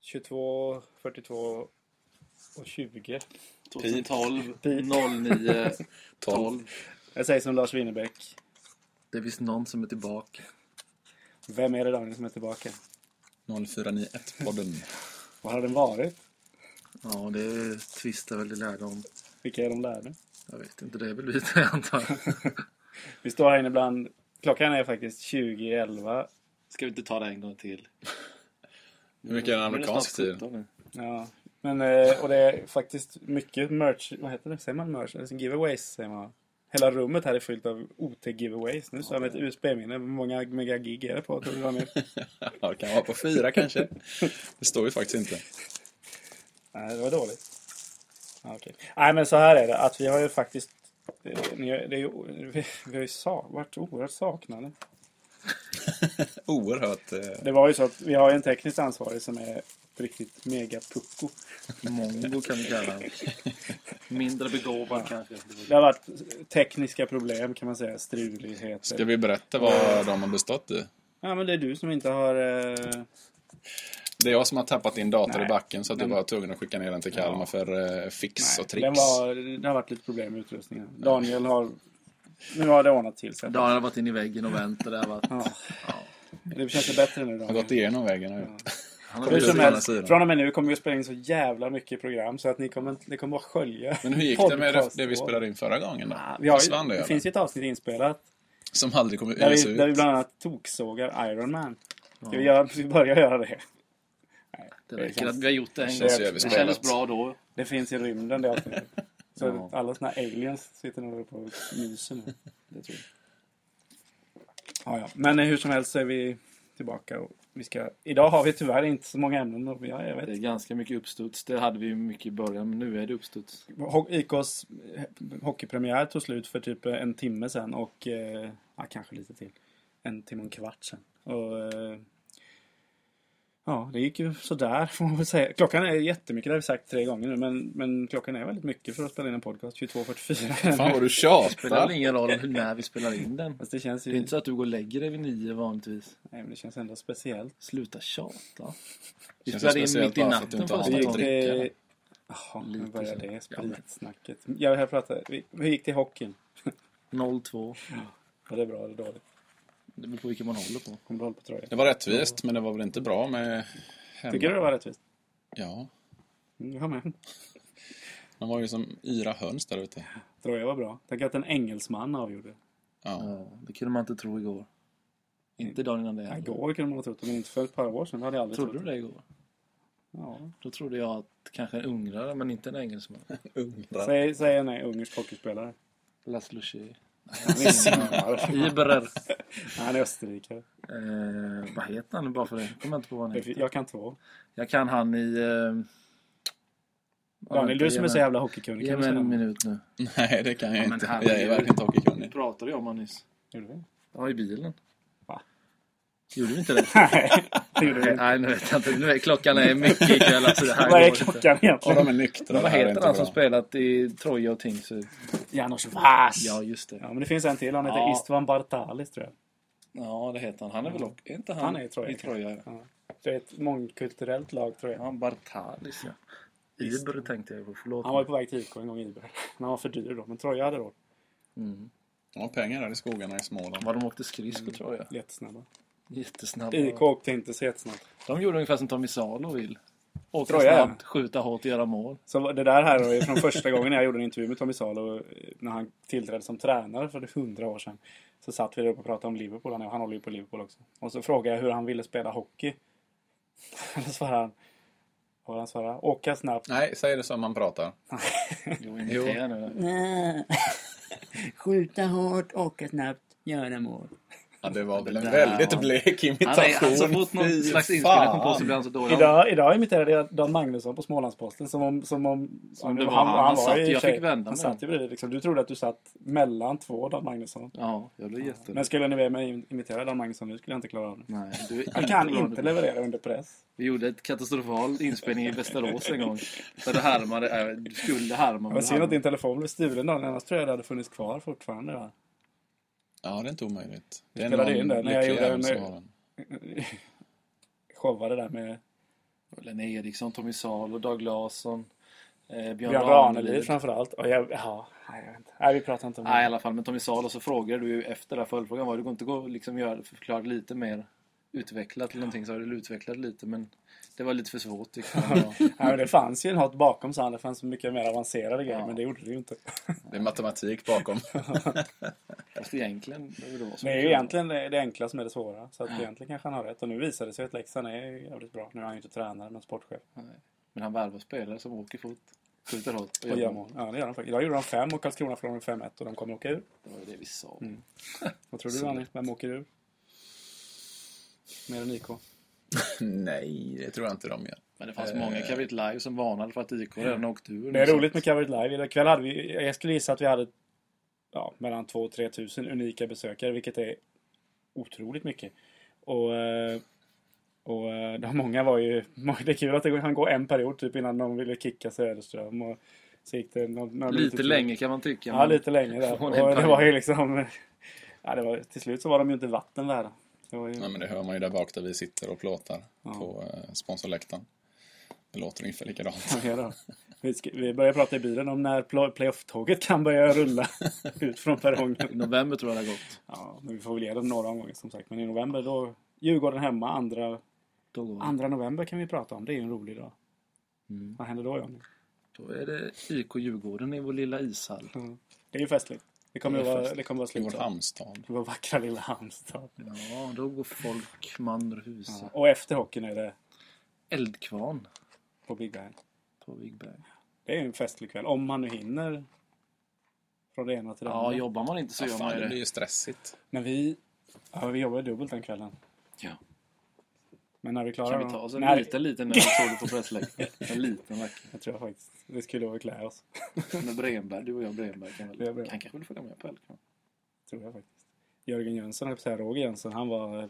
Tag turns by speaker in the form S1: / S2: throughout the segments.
S1: 22, 42 och 20.
S2: 2012,
S1: Pi.
S2: 09, 12.
S3: 12.
S1: Jag säger som Lars Winnerbäck.
S2: Det finns någon som är tillbaka.
S1: Vem är det Daniel som är tillbaka?
S3: 0491-podden.
S1: Vad har den varit?
S2: Ja, det tvistar väl de lärde om.
S1: Vilka är de lärde?
S2: Jag vet inte, det är väl vi tre antar jag.
S1: Vi står här inne ibland. Klockan är faktiskt 20 i 11.
S2: Ska vi inte ta det en gång till?
S3: Hur mycket är en
S2: Nu det
S3: amerikansk
S2: snart
S3: tid?
S2: 17 nu.
S1: Ja. Men, eh, och det är faktiskt mycket merch. Vad heter det? Säger man merch? Eller giveaways säger man. Hela rummet här är fyllt av OT-giveaways. Nu så har vi ett USB-minne. Hur många megagig är det på? Tror du, Daniel?
S3: Ja, det kan vara på fyra kanske. Det står ju faktiskt inte.
S1: Nej, det var dåligt. Ja, okej. Nej, men så här är det. Att vi har ju faktiskt... eh, ni har- Det är ju, vi, vi har ju sa, varit oerhört saknade.
S3: Oerhört... Eh,
S1: Det var ju så att vi har ju en tekniskt ansvarig som är ett riktigt mega pucko.
S2: Mongo kan vi kalla honom. Mindre begåvad kanske.
S1: Det har varit tekniska problem kan man säga. Struligheter.
S3: ska vi berätta vad de har bestått i?
S1: Ja, men det är du som inte har... Eh...
S3: Det är jag som har tappat din dator
S1: Nej.
S3: i backen så att jag
S1: Den-
S3: var tvungen att skicka ner den till Kalmar för eh, fix och tricks.
S1: den var, det har varit lite problem med utrustningen. Daniel har... Nu har det ordnat till sig.
S2: Då har jag varit inne i väggen och vänt och det har varit...
S1: Ja. Det känns det bättre nu
S3: Jag har
S1: Daniel.
S3: gått igenom vägen och ut.
S2: Han har
S1: Hur
S3: Precis.
S1: som
S2: blivit-
S1: helst,
S3: sidan.
S1: från och med nu kommer vi att spela in så jävla mycket program så att ni kommer, inte- det kommer bara skölja.
S3: Men hur gick det med det,
S1: podcast-
S3: det vi spelade in förra gången då?
S1: Ja, Vi har
S3: Försvann
S1: ju,
S3: det,
S1: det
S3: eller?
S1: finns ju ett avsnitt inspelat
S3: Som aldrig kommer
S1: där
S3: ges
S1: vi, där vi
S3: ut.
S1: bland annat toksågar Iron Man. Ska vi, göra, vi börjar göra det?
S2: Det räcker att vi har gjort det en gång.
S3: känns ju
S2: Det
S3: överspelat.
S2: kändes bra då.
S1: Det finns i rymden det avsnittet. Så
S2: Ja.
S1: alla såna här aliens sitter nog på och myser nu. Det tror jag. Ja, ja. Men eh, hur som helst så är vi tillbaka. Och vi ska... Idag har vi tyvärr inte så många ämnen. Och vi har, jag vet.
S4: Det är ganska mycket uppstuds. Det hade vi ju mycket i början, men nu är det uppstuds.
S1: Ho- IKs eh, hockeypremiär tog slut för typ en timme sedan och eh, ja, kanske lite till. En timme och en kvart sedan. Och, eh, ja, det gick ju sådär får man väl säga. Klockan är jättemycket, det har vi sagt tre gånger nu, men, men klockan är väldigt mycket för att spela in en podcast. 22.44.
S3: Fan vad du
S2: Det spelar väl
S3: tjatar!
S2: ingen roll hur när vi spelar in den.
S1: Fast det känns
S4: Det är
S1: ju...
S4: inte så att du går och lägger dig vid nio vanligtvis.
S1: Nej, men det känns ändå speciellt.
S4: Sluta tjata.
S3: Känns
S4: Vi
S3: det
S4: spelade in
S3: speciellt
S4: mitt i
S3: bara för att du
S4: natten
S3: inte har
S4: första
S3: något att
S4: gången.
S3: dricka? eller?
S1: Jaha, nu
S4: Lite
S1: börjar
S4: så.
S1: det
S2: Ja, men-
S1: spritsnacket. Jag vill här prata... vi- Hur gick det i hockeyn?
S4: 0-2.
S1: Var det bra eller dåligt?
S4: Det beror på vilken man håller på.
S1: Kommer du hålla på tröjan?
S3: Det var rättvist, men det var väl inte bra med... hemma-
S1: Tycker du det var rättvist?
S3: Ja.
S1: Mm, Jag med.
S3: De var ju som yra höns där ute.
S1: Troja var bra. Tänk att en engelsman avgjorde.
S3: Ja.
S4: Ja, det kunde man inte tro igår. Inte dagen innan det
S1: Ja,
S4: heller.
S1: igår kunde man ha trott det, men inte för ett par år sedan. Det hade jag aldrig
S4: Trodde
S1: trott.
S4: du det igår?
S1: Ja.
S4: Då trodde jag att kanske en ungrare, men inte en engelsman.
S3: Undrar.
S1: Säg, säg en ungersk hockeyspelare.
S4: Laszlo Shea.
S2: Iberer.
S1: Han är österrikare.
S4: Eh, vad heter han nu bara för det? Kommer jag inte på vad han
S1: Jag-
S4: heter.
S1: Jag kan två.
S4: Jag kan han i... Eh...
S1: Daniel, du som är så jävla hockeykunnig.
S4: Ge
S1: Kan du
S4: mig
S1: säga
S4: en
S1: något?
S4: minut nu.
S3: Nej, det kan jag
S2: Ja, men
S3: inte.
S2: herregud.
S3: Jag är verkligen inte hockeykunnig.
S4: Pratade jag om honom nyss?
S1: Gjorde vi?
S4: Ja, i bilen.
S1: Va?
S4: Gjorde vi inte det?
S1: Nej, det gjorde vi inte.
S4: Nej, nu vet jag inte. Nu är klockan är mycket ikväll. Alltså, det här
S1: Vad är
S4: går inte.
S1: klockan
S3: Ja,
S1: egentligen?
S3: de är nyktra.
S4: Men
S3: det
S4: vad
S3: här är
S4: heter
S3: inte
S4: han
S3: bra.
S4: som spelat i Troja och Tingsryd?
S1: Janos Vas!
S4: Ja,
S1: Ja,
S4: just det.
S1: men det finns en till. Han heter
S4: Ja.
S1: Istvan Bartalis, tror jag.
S4: Ja, det heter han. Han är väl också... Är inte han,
S1: Han är i Troja.
S4: I Troja, ja.
S1: Det är ett mångkulturellt lag, tror jag.
S4: Han Bartalis, ja. Iber tänkte jag på. Förlåt.
S1: Han var ju på väg till IK en gång i Iberg. Men han var för dyr då. Men Troja hade råd.
S4: mm.
S3: De har pengar där i skogarna i Småland.
S4: Vad de åkte skridskor, tror jag.
S1: Jättesnabba.
S4: Jättesnabba.
S1: IK åkte inte så jättesnabbt.
S4: De gjorde ungefär som Tommy Salo vill. Åka
S1: Troja, ja.
S4: snabbt, skjuta hårt och göra mål.
S1: Så det där här är från första gången jag gjorde en intervju med Tommy Salo eh, när han tillträdde som tränare för hundra år sedan. Så satt vi där uppe och pratade om Liverpool. Han, han håller ju på Liverpool också. Och så frågade jag hur han ville spela hockey. Då svarade han... Vad var han svara? Åka snabbt.
S3: Nej, säg det som man pratar.
S4: Jo, imitera nu.
S5: Skjuta hårt, åka snabbt, göra mål.
S3: Ja, det var väl en
S4: där
S3: väldigt
S4: var-
S3: blek
S4: Han är,
S3: imitation.
S4: han, så fort
S3: Fy
S4: alltså, någon slags
S3: fan.
S4: inspelning kom på så blir han så dålig.
S1: Idag, idag imiterade jag Dan Magnusson på Smålandsposten som om... Som om, som
S4: Om det var han. Han satt
S1: i och
S4: ju- jag
S1: för sig-
S4: fick vända
S1: Han
S4: mig.
S1: satt ju bredvid. Liksom. Du trodde att du satt mellan två Dan Magnusson.
S4: Ja, jag blir jätterädd.
S1: Men skulle ni be mig imitera Dan Magnusson nu skulle jag inte klara av det.
S4: Nej, du är
S1: Jag kan
S4: glad
S1: inte
S4: nu.
S1: leverera under press.
S4: Vi gjorde ett katastrofal inspelning i Västerås en gång. Där du härmade, äh, du skulle härma. men
S1: Men
S4: du
S1: synd att
S4: härmade.
S1: din telefon blev stulen då, annars tror jag det hade funnits kvar fortfarande. Va?
S3: Ja, det är inte omöjligt. Det är
S1: spelade
S3: någon
S1: in det när jag
S3: lycklig
S1: gjorde
S3: jävel
S1: en-
S3: som har den.
S1: Showade där med
S4: Lena Eriksson, Tommy Salo, Dag Larsson, eh, Björn,
S1: Björn Ranelid framförallt. Och jag, ja, nej, jag vet inte. Nej, vi pratar inte om
S4: Nej, i
S1: det.
S4: alla fall. Men Tommy Salo så frågade du ju efter det här följdfrågan. Var det går inte att gå, liksom, göra, förklara lite mer utvecklat eller någonting. Så har du utvecklat lite men det var lite för svårt. Liksom.
S1: Nej, men det fanns ju något bakom så han. Det fanns mycket mer avancerade grejer, men det gjorde det ju inte.
S3: Det är matematik bakom.
S4: Fast egentligen behöver det vara så.
S1: Det är ju egentligen det det enkla som är det svåra. Så att egentligen kanske han har rätt. Och nu visar det sig att Leksand är jävligt bra. Nu är han ju inte tränare, men sportchef.
S4: Men han värvar spelare som åker fot, skjuter hårt
S1: Och gör mål. Ja, det gör han faktiskt. Idag gjorde de fem och Karlskrona förlorade med 5-1 och de kommer åka ur.
S4: Det var ju det vi sa.
S1: Mm. Vad tror du Anis? Vem åker ur? Mer än IK.
S3: Nej, det tror jag inte de gör.
S4: Men det fanns många i Cavit Live som varnade för att IK redan åkt ur.
S1: Eh. Det är roligt med Covered Live. Ikväll hade vi, jag skulle gissa att vi hade ja, mellan 2 och 3 tusen unika besökare, vilket är otroligt mycket. Och, eh, och eh, de många var ju, det är kul att det, han går en period typ innan någon ville kicka Söderström. Och så gick det någon, någon minut
S4: Lite
S1: till.
S4: länge kan man tycka.
S1: Ja,
S4: men-
S1: lite längre där.
S4: Från
S1: Och
S4: en
S1: det
S4: period.
S1: var ju liksom, ja, det var, till slut så var de ju inte vatten värda. Det var ju,
S3: Nej, men det hör man ju där bak där vi sitter och plåtar på eh, sponsorläktaren. Det låter ungefär likadant.
S1: Ja, då. Vi, ska, vi börjar prata i bilen om när pl- playoff-tåget kan börja rulla ut från
S4: I
S1: perrongen.
S4: november tror jag det har gått.
S1: Ja, men vi får väl ge dem några omgångar som sagt. Men i november då... Djurgården hemma, andra,
S4: Då, går vi.
S1: andra november kan vi prata om. Det är ju en rolig dag.
S4: Mm.
S1: Vad händer då, Johnny?
S4: då är det IK Djurgården i vår lilla ishall.
S1: Det är ju festligt. Det kommer,
S3: Det
S1: att
S3: är
S1: vara,
S3: festligt.
S1: det kommer att
S3: I
S1: vara
S3: vår
S1: slutspel.
S3: hamnstad.
S1: Vår vackra lilla Halmstad.
S4: Ja, då går folk man ur huset.
S1: Ja. Och efter hockeyn är det
S4: Eldkvarn
S1: på Big Ben.
S4: på Vigberg.
S1: Det är ju en festlig kväll. Om man nu hinner från det ena till det
S4: Ja,
S1: andra.
S4: jobbar man inte så
S3: Ja,
S4: gör man
S3: fan, det blir
S4: det.
S3: ju stressigt.
S1: När vi... Ja, vi jobbar dubbelt den kvällen.
S4: Ja.
S1: Men när vi klarar
S4: Kan vi
S1: dem-
S4: ta Alltså, oss en
S1: Nej,
S4: liten, liten öl såg du på pressläktaren? En liten verkligen.
S1: Jag tror faktiskt det skulle vara att klä oss.
S4: Med Bremberg, du och jag Bremberg kan
S1: Ja,
S4: väl...
S1: Bremberg.
S4: Han kanske vill följa med på Eldkvarn?
S1: Tror jag faktiskt. Jörgen Jönsson, höll jag på att säga, Roger Jönsson, han var,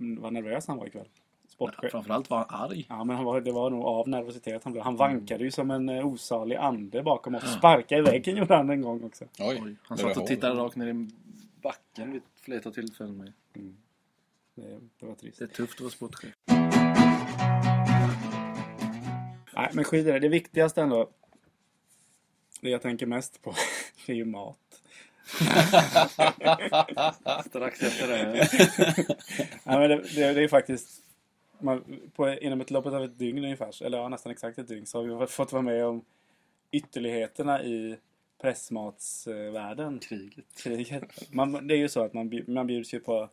S1: mm, vad nervös han var ikväll. Sportchef. Ja,
S4: Framförallt var han arg.
S1: men han var, det var nog av nervositet han blev. Han vankade ju som en eh, osalig ande bakom oss. Sparkade i väggen gjorde han en gång också.
S3: Oj,
S4: Oj, han
S3: blev
S4: satt
S3: det
S4: och
S3: hål?
S4: tittade rakt ner i backen vid ett flertal tillfällen. Med.
S1: Det, det var trist.
S4: Det är tufft att vara sportchef.
S1: Nej, men skit i det. Det viktigaste ändå. Det jag tänker mest på, det är ju mat.
S4: Strax efter det.
S1: Nej, men det, det, det är faktiskt... Man, på, inom ett loppet av ett dygn ungefär, så- eller ja, nästan exakt ett dygn, så har vi fått vara med om ytterligheterna i pressmatsvärlden.
S4: Kriget.
S1: kriget. Man, det är ju så att man, bjud- man bjuds ju på...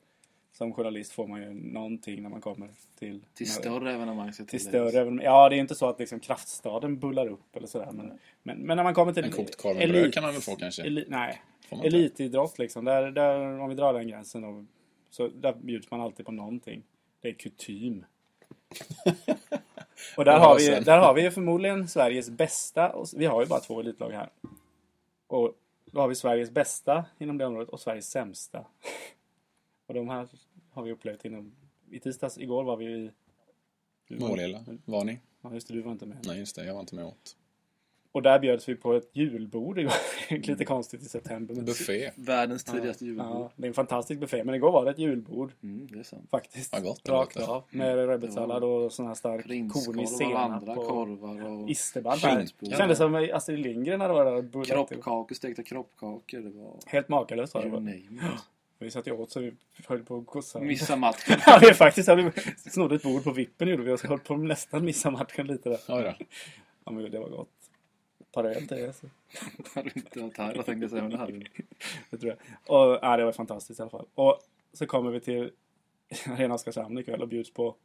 S1: Som journalist får man ju någonting när man kommer till...
S4: Till
S1: när-
S4: större evenemang ska
S1: till
S4: tilläggas.
S3: liksom.
S1: större evenemang. Ja, det är ju inte så att liksom kraftstaden bullar upp eller sådär. Men, men, men när man kommer till... e-
S3: En kokt korv med
S1: elit-
S3: bröd kan man väl få kanske?
S1: Eli, nej.
S3: Får man inte?
S1: Elitidrott liksom. Där, där, om vi drar den gränsen då. Så där bjuds man alltid på någonting. Det är kutym. och där
S3: Och
S1: har, vi,
S3: sen.
S1: där har vi ju förmodligen Sveriges bästa. Och, s- vi har ju bara två elitlag här. Och då har vi Sveriges bästa inom det området och Sveriges sämsta. och de här har vi upplevt inom... I tisdags, igår var vi i... du var-
S3: Målilla, var ni?
S1: Ja, just det, du var inte med.
S3: Nej, just det. Jag var inte med åt.
S1: Och där bjöds vi på ett julbord igår.
S4: Mm.
S1: Lite konstigt i september. Men
S3: Buffé.
S4: Världens tidigaste julbord.
S1: Ja, det är en fantastisk buffé. Men igår var det ett julbord
S4: Mm, det är sant.
S1: faktiskt.
S3: Vad gott det
S1: Rakt
S3: låter.
S1: av. Med rödbetssallad och sån här stark kornig
S4: Mm. Prinskorv och
S1: senap.
S4: andra
S1: och
S4: korvar och
S1: Isterband.
S3: Skinka.
S1: Det kändes som Astrid Lindgren hade varit där och bullat ihop.
S4: kroppkakor, stekta kroppkakor. Det var...
S1: Helt makalöst var det.
S4: You
S1: bara.
S4: name it.
S1: Vi satt ju åt så vi höll på att gossa.
S4: Missa matchen.
S1: Ja, det är faktiskt. Vi snodde ett bord på vippen gjorde vi och så höll på att nästan missa matchen lite där.
S3: Oj då.
S1: Ja, men det var gott. Parallellt det. Alltså.
S4: Har du inte varit här? Vad tänkte jag säga om det här?
S1: Det tror jag. Och, ja, det var fantastiskt i alla fall. Och så kommer vi till Arena Oskarshamn ikväll och bjuds på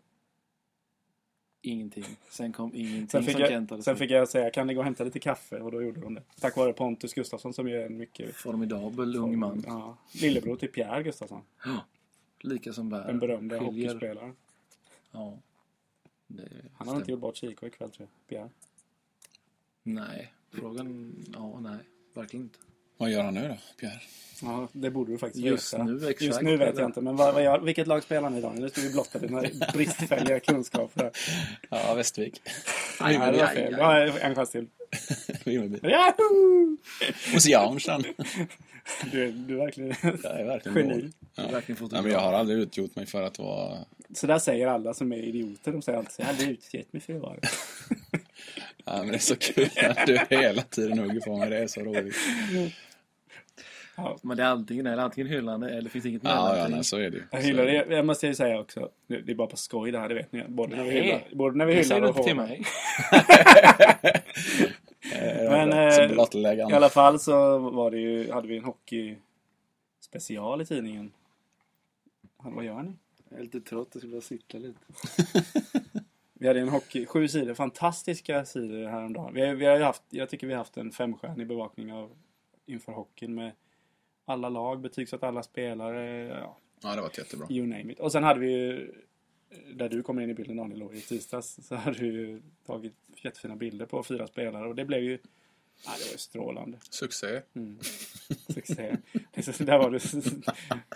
S4: Ingenting. Sen kom ingenting
S1: Sen fick,
S4: som Kent
S1: jag,
S4: hade
S1: sen
S4: sagt.
S1: fick jag säga, kan ni gå och hämta lite kaffe? Och då gjorde de det. Tack vare Pontus Gustafsson som ju är en mycket...
S4: Formidabel ung man.
S1: Ja, lillebror till Pierre Gustafsson.
S4: Lika som världen.
S1: Den berömda
S4: Skiljer.
S1: hockeyspelaren.
S4: Ja. Det
S1: Han har inte
S4: stämmer.
S1: gjort bort sig i IK ikväll tror jag. Pierre.
S4: Nej. Frågan... Ja, nej. Verkligen inte.
S3: Vad gör han nu då, Pierre?
S1: Ja, det borde du faktiskt
S4: Just
S1: veta.
S4: nu, exakt.
S1: Just nu vet jag inte. Men vad, vad gör, vilket lag spelar ni idag? Nu ska vi blotta dina bristfälliga kunskaper. här.
S3: Ja, Västervik.
S1: Nej, det var fel. Ja, en chans till.
S3: Vimmerby.
S1: Yahoo!
S3: Och så Jaunsen.
S1: Du, är- du är verkligen
S3: Jag är verkligen
S1: geni.
S3: dålig. Nej, men jag har aldrig utgjort mig för att vara...
S1: Så där säger alla som är idioter. De säger alltid så här, jag hade utgett mig för att vara det."
S3: Ja, men det är så kul att du hela tiden hugger på mig. Det är så roligt.
S4: Men det är antingen, eller, antingen hyllande eller finns inget
S3: Ja, ja,
S4: mellanting.
S3: nej, så är det ju.
S1: Jag hyllar det. Jag måste ju säga också. nu- Det är bara på skoj det här, det vet ni. Både när vi
S4: Nej.
S1: hyllar, både när vi
S4: Det säger
S1: hyllar
S4: du
S1: och
S4: inte till
S1: hånar.
S4: mig.
S1: Men,
S3: Men, så
S1: eh,
S3: blottlägger
S1: I alla fall så var det ju, hade vi en hockeyspecial i tidningen. Han, vad gör ni?
S4: Jag är lite trött, jag skulle vilja sitta lite.
S1: Vi hade en hockey, sju sidor, fantastiska sidor häromdagen. Vi, har- vi har ju haft, jag tycker vi har haft en femstjärnig bevakning av inför hockeyn med alla lag, betygsatt alla spelare, ja,
S3: Ja, det var jättebra.
S1: you name it. Och sen hade vi ju, där du kommer in i bilden Daniel, då, i tisdags, så hade vi ju tagit jättefina bilder på fyra spelare och det blev ju, ja, det var ju strålande.
S3: Succé.
S1: Succé. Det är så- där var du.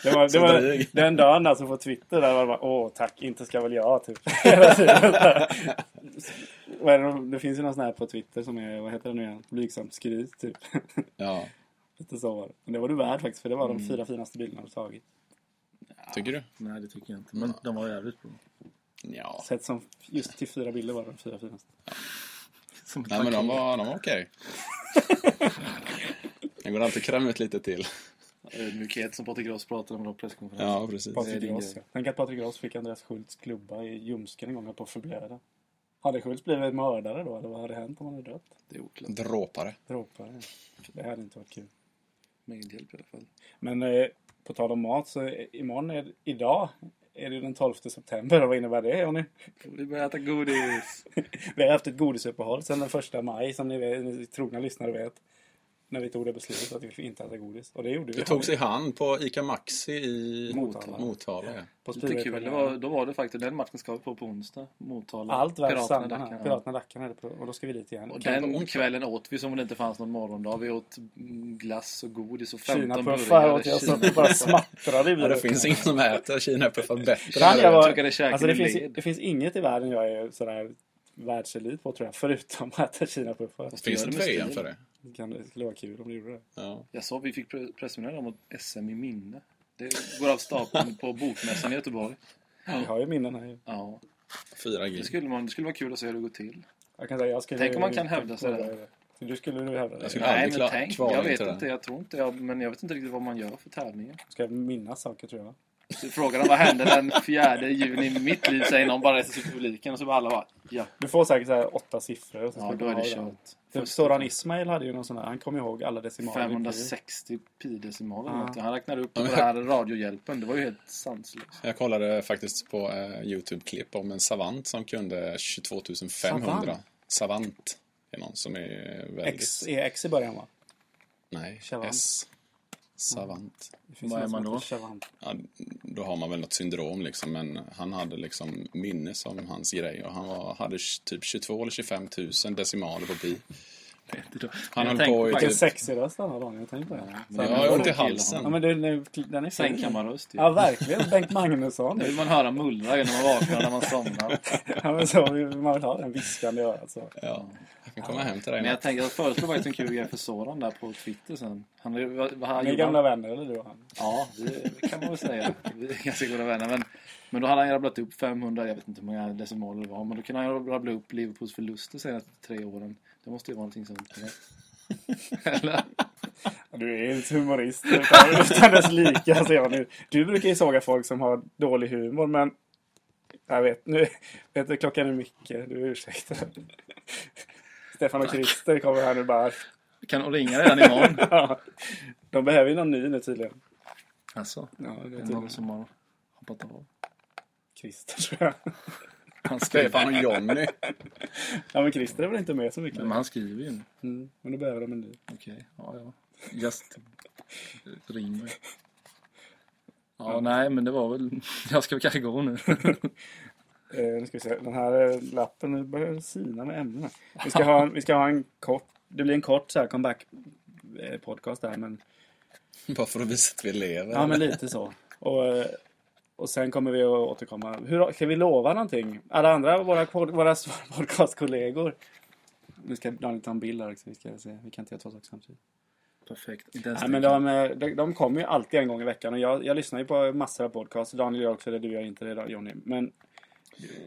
S1: Det var, det
S3: Så
S1: var
S3: dryg.
S1: den dagen alltså på Twitter där var det bara åh tack, inte ska väl jag typ. Hela tiden. Vad är det- det finns ju någon sån här på Twitter som är, vad heter det nu igen, blygsamt skryt typ.
S3: Ja,
S1: Lite så var det. Men det var du värd faktiskt för det var de fyra finaste bilderna du tagit.
S3: tycker du?
S4: Nej, det tycker jag inte. Men de var jävligt bra.
S3: Ja.
S1: Sett som just till fyra bilder var de fyra finaste.
S4: Som ett
S3: Nej, men de
S4: paket.
S3: var, de var okej. Det går alltid att kräma ut lite till.
S4: Ödmjukhet som Patrik Ross pratade om på presskonferensen.
S3: Ja, precis.
S4: är
S1: Patrik
S4: din
S1: Ross.
S4: grej.
S1: ja. Tänk att Patrik Ross fick Andreas Schultz klubba i ljumsken en gång och på förbjuden. Hade Schultz blivit mördare då eller vad hade hänt om han hade dött?
S4: Det är oklart.
S1: Mm.
S3: Dråpare.
S1: Dråpare. Det hade inte varit kul.
S4: Mängdhjälp i alla fall.
S1: Men eh, på tal om mat så eh, imorgon är, idag är det den 12 september och vad innebär det Jonny?
S4: Vi börjar äta godis.
S1: Vi har haft ett godisuppehåll sedan den första maj som ni, vet, ni trogna lyssnare vet. När vi tog det beslutet att vi inte äta godis. Och det gjorde vi.
S3: Det togs i hand på ICA Maxi i
S1: Motala.
S3: Motala, ja.
S1: på
S4: Lite kul. Det var, då var det faktiskt. Den matchen ska vi på på onsdag. Motala.
S1: Allt väl samma.
S4: Dackarna.
S1: Piraterna Dackarna är det på, och då ska vi dit igen.
S4: Och
S3: Kan det vara
S4: den
S3: onsdag?
S4: kvällen åt vi som om det inte fanns någon morgondag. Vi åt mm, glass och godis och 15
S1: Kinapuffar åt jag så att det bara smattrade i
S3: Ja, det
S1: munnen.
S3: finns ingen som äter kinapuffar bättre.
S1: Kan jag vara-
S4: Torkade käken
S1: alltså det,
S4: i
S1: finns,
S4: led.
S1: det finns inget i världen jag är sådär världselit på tror jag. Förutom att äta kinapuffar.
S3: Finns det
S4: Gör det med
S3: tröjan
S4: stil.
S3: för det?
S1: Det kan- det skulle vara kul om du gjorde det.
S3: Ja.
S4: Jag sa vi fick pre- pressmeddelande om ett SM i minne. Det går av stapeln på Bokmässan i Göteborg.
S1: Vi har ju minnen här ju.
S4: Ja,
S3: Fyra
S4: det
S3: gig.
S4: skulle, man, det skulle vara kul att se hur det går till.
S1: Jag kan säga, jag skulle,
S4: Tänk om man kan hävda sig
S1: påbörja det. Du skulle du hävda det. Ska
S3: Jag skulle-
S1: Jag
S4: Nej,
S3: aldrig
S4: men
S3: klar-
S4: tänk.
S3: kvala
S4: Jag
S3: in
S4: vet
S3: till
S4: inte,
S3: det.
S4: jag tror inte jag, men jag vet inte riktigt vad man gör för tävlingar.
S1: ska minnas saker tror jag.
S4: Så Frågar de vad hände den 4 juni i mitt liv, säger någon bara till publiken och så bara alla bara ja,
S1: Du får säkert så här åtta siffror. Och så
S4: ja
S1: ska
S4: då
S1: du
S4: är det
S1: ha den.
S4: kört.
S1: Typ Soran Ismail hade ju någon sån här, han kom ihåg alla decimaler. i pi.
S4: 560 pidecimaler
S1: Ja.
S4: eller något. Han räknade upp
S3: Ja, men-
S4: den här radiohjälpen, det var ju helt sanslöst.
S3: Jag kollade faktiskt på eh, YouTube-klipp om en savant som kunde 22 500.
S1: Savant?
S3: Savant? Savant. Det är någon som är väldigt...
S1: X, är X i början va?
S3: Nej,
S1: Savant.
S3: S. Savant.
S1: Det finns
S4: Vad
S1: någon
S4: är
S1: som
S4: man då?
S1: heter Chavant.
S3: Ja, då har man väl något syndrom liksom, men han hade liksom minne som hans grej och han var, hade tj- typ 22 eller 25 000 decimaler på pi. Han höll
S4: Jag
S3: på
S4: tänker
S3: i
S1: Vilken
S3: typ,
S1: sexig röst han har Daniel, tänk på det.
S3: ja, jag har ont i halsen.
S1: Ja men du, nu, den är fin.
S4: Sängkammarröst ju.
S1: Ja verkligen, Bengt Magnusson.
S4: Nu typ. vill man höra mullra när man vaknar, när man somnar.
S1: Ja, men så, vill man vill ha den viskande i örat så.
S3: Ja, jag kan komma hem till dig.
S4: Men jag
S3: Matt.
S4: tänker, jag föreslår faktiskt en kul grej för Soran där på Twitter sen. Han, är- vad, vad han
S1: Ni är
S4: gjorde-
S1: gamla vänner eller du och han?
S4: Ja, det kan man väl säga. Vi är ganska goda vänner. Men, men då hade han ju rabblat upp 500, jag vet inte hur många decimaler det var, men då kunde han ju rabbla upp Liverpools förluster de senaste tre åren. Det måste ju vara någonting sånt. eller? Eller?
S1: Du är ju inte humorist utan, utan dess lika. Alltså jag nu. Du brukar ju såga folk som har dålig humor men... Jag vet, nu vet du, klockan är mycket. Du ursäkta. Stefan och Christer kommer här nu bara.
S4: Kan och ringa redan imorgon.
S1: Ja. De behöver ju någon ny nu tydligen.
S4: Alltså,
S1: Ja, det
S4: det
S1: är
S4: är någon
S1: tydligen
S4: som har hoppat av.
S1: Christer tror jag.
S4: Han skriver,
S3: Stefan och Jonny.
S1: Ja men Christer är väl inte med så mycket.
S4: men han skriver ju.
S1: Mm, men då behöver de en ny.
S4: Okej, ja, ja. Just ring mig. Ja, nej, men det var väl... Jag ska väl kanske gå nu.
S1: Eh, nu ska vi se. Den här eh, lappen nu börjar den sina med ämnena. Vi ska ha, vi ska ha en kort... Det blir en kort så här comeback-podcast där men...
S3: Bara för att visa att vi lever.
S1: Ja, men lite så. Och eh, Och sen kommer vi att återkomma. Hur, ska vi lova någonting? Alla andra våra, pod- våra podcastkollegor. Nu ska Daniel ta en bild här också. Vi, ska se. vi kan inte göra två saker samtidigt.
S4: Perfekt. Inte ens
S1: Nej, men de, eh, de, de kommer ju alltid en gång i veckan. Och jag, jag lyssnar ju på massor av podcasts. Daniel gör också det. Du gör inte det, Johnny. Men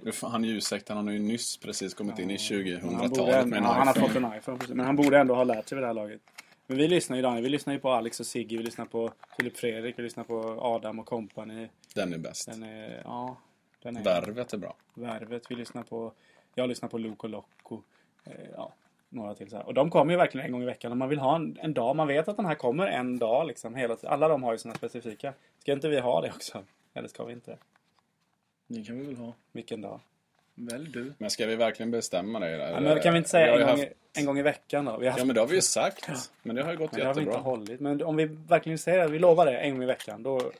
S3: Nu får- Han är ju ursäktad, han har ju nyss precis kommit in i
S1: han, borde,
S3: 2000-talet
S1: ändå-
S3: med en
S1: ja, han har fått
S3: iPhone.
S1: en iPhone. precis. Men han borde ändå ha lärt sig vid det här laget. Men vi lyssnar ju Daniel. Vi lyssnar ju på Alex och Sigge. Vi lyssnar på Filip Fredrik. Vi lyssnar på Adam och kompani.
S3: Den är bäst.
S1: Den är... Ja. Den är...
S3: Värvet är bra.
S1: Värvet. Vi lyssnar på... Jag lyssnar på Loco Loco. Eh, ja, några till så här. Och de kommer ju verkligen en gång i veckan. Och man vill ha en, en dag. Man vet att den här kommer en dag liksom. Hela, t- alla de har ju sina specifika. Ska inte vi ha det också? Eller ska vi inte?
S4: Det kan vi väl ha.
S1: Vilken dag?
S4: Välj du.
S3: Men ska vi verkligen bestämma det? Eller?
S1: Ja, men kan vi inte säga
S3: har ju
S1: en gång,
S3: haft-
S1: i, en gång i veckan då? Vi har haft,
S3: Ja, men det har vi ju sagt. Men det har ju gått
S1: men det har vi inte
S3: jättebra.
S1: hållit. Men om vi verkligen säger att vi lovar det en gång i veckan. Då,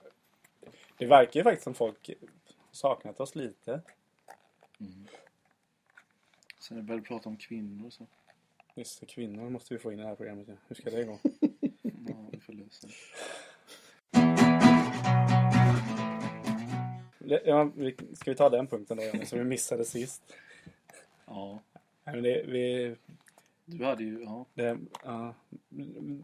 S1: det verkar ju faktiskt som folk saknat oss lite.
S4: Sen började vi prata om kvinnor så.
S1: Just det, kvinnor måste vi få in i det här programmet. ja. Hur ska det gå?
S4: Ja, vi får lösa det.
S1: Det- Ja, vi- ska vi ta den punkten då, Johnny, som vi missade sist?
S4: Ja.
S1: Nej, men det, vi,
S4: Du hade ju, ja.
S1: det, ja. Nej,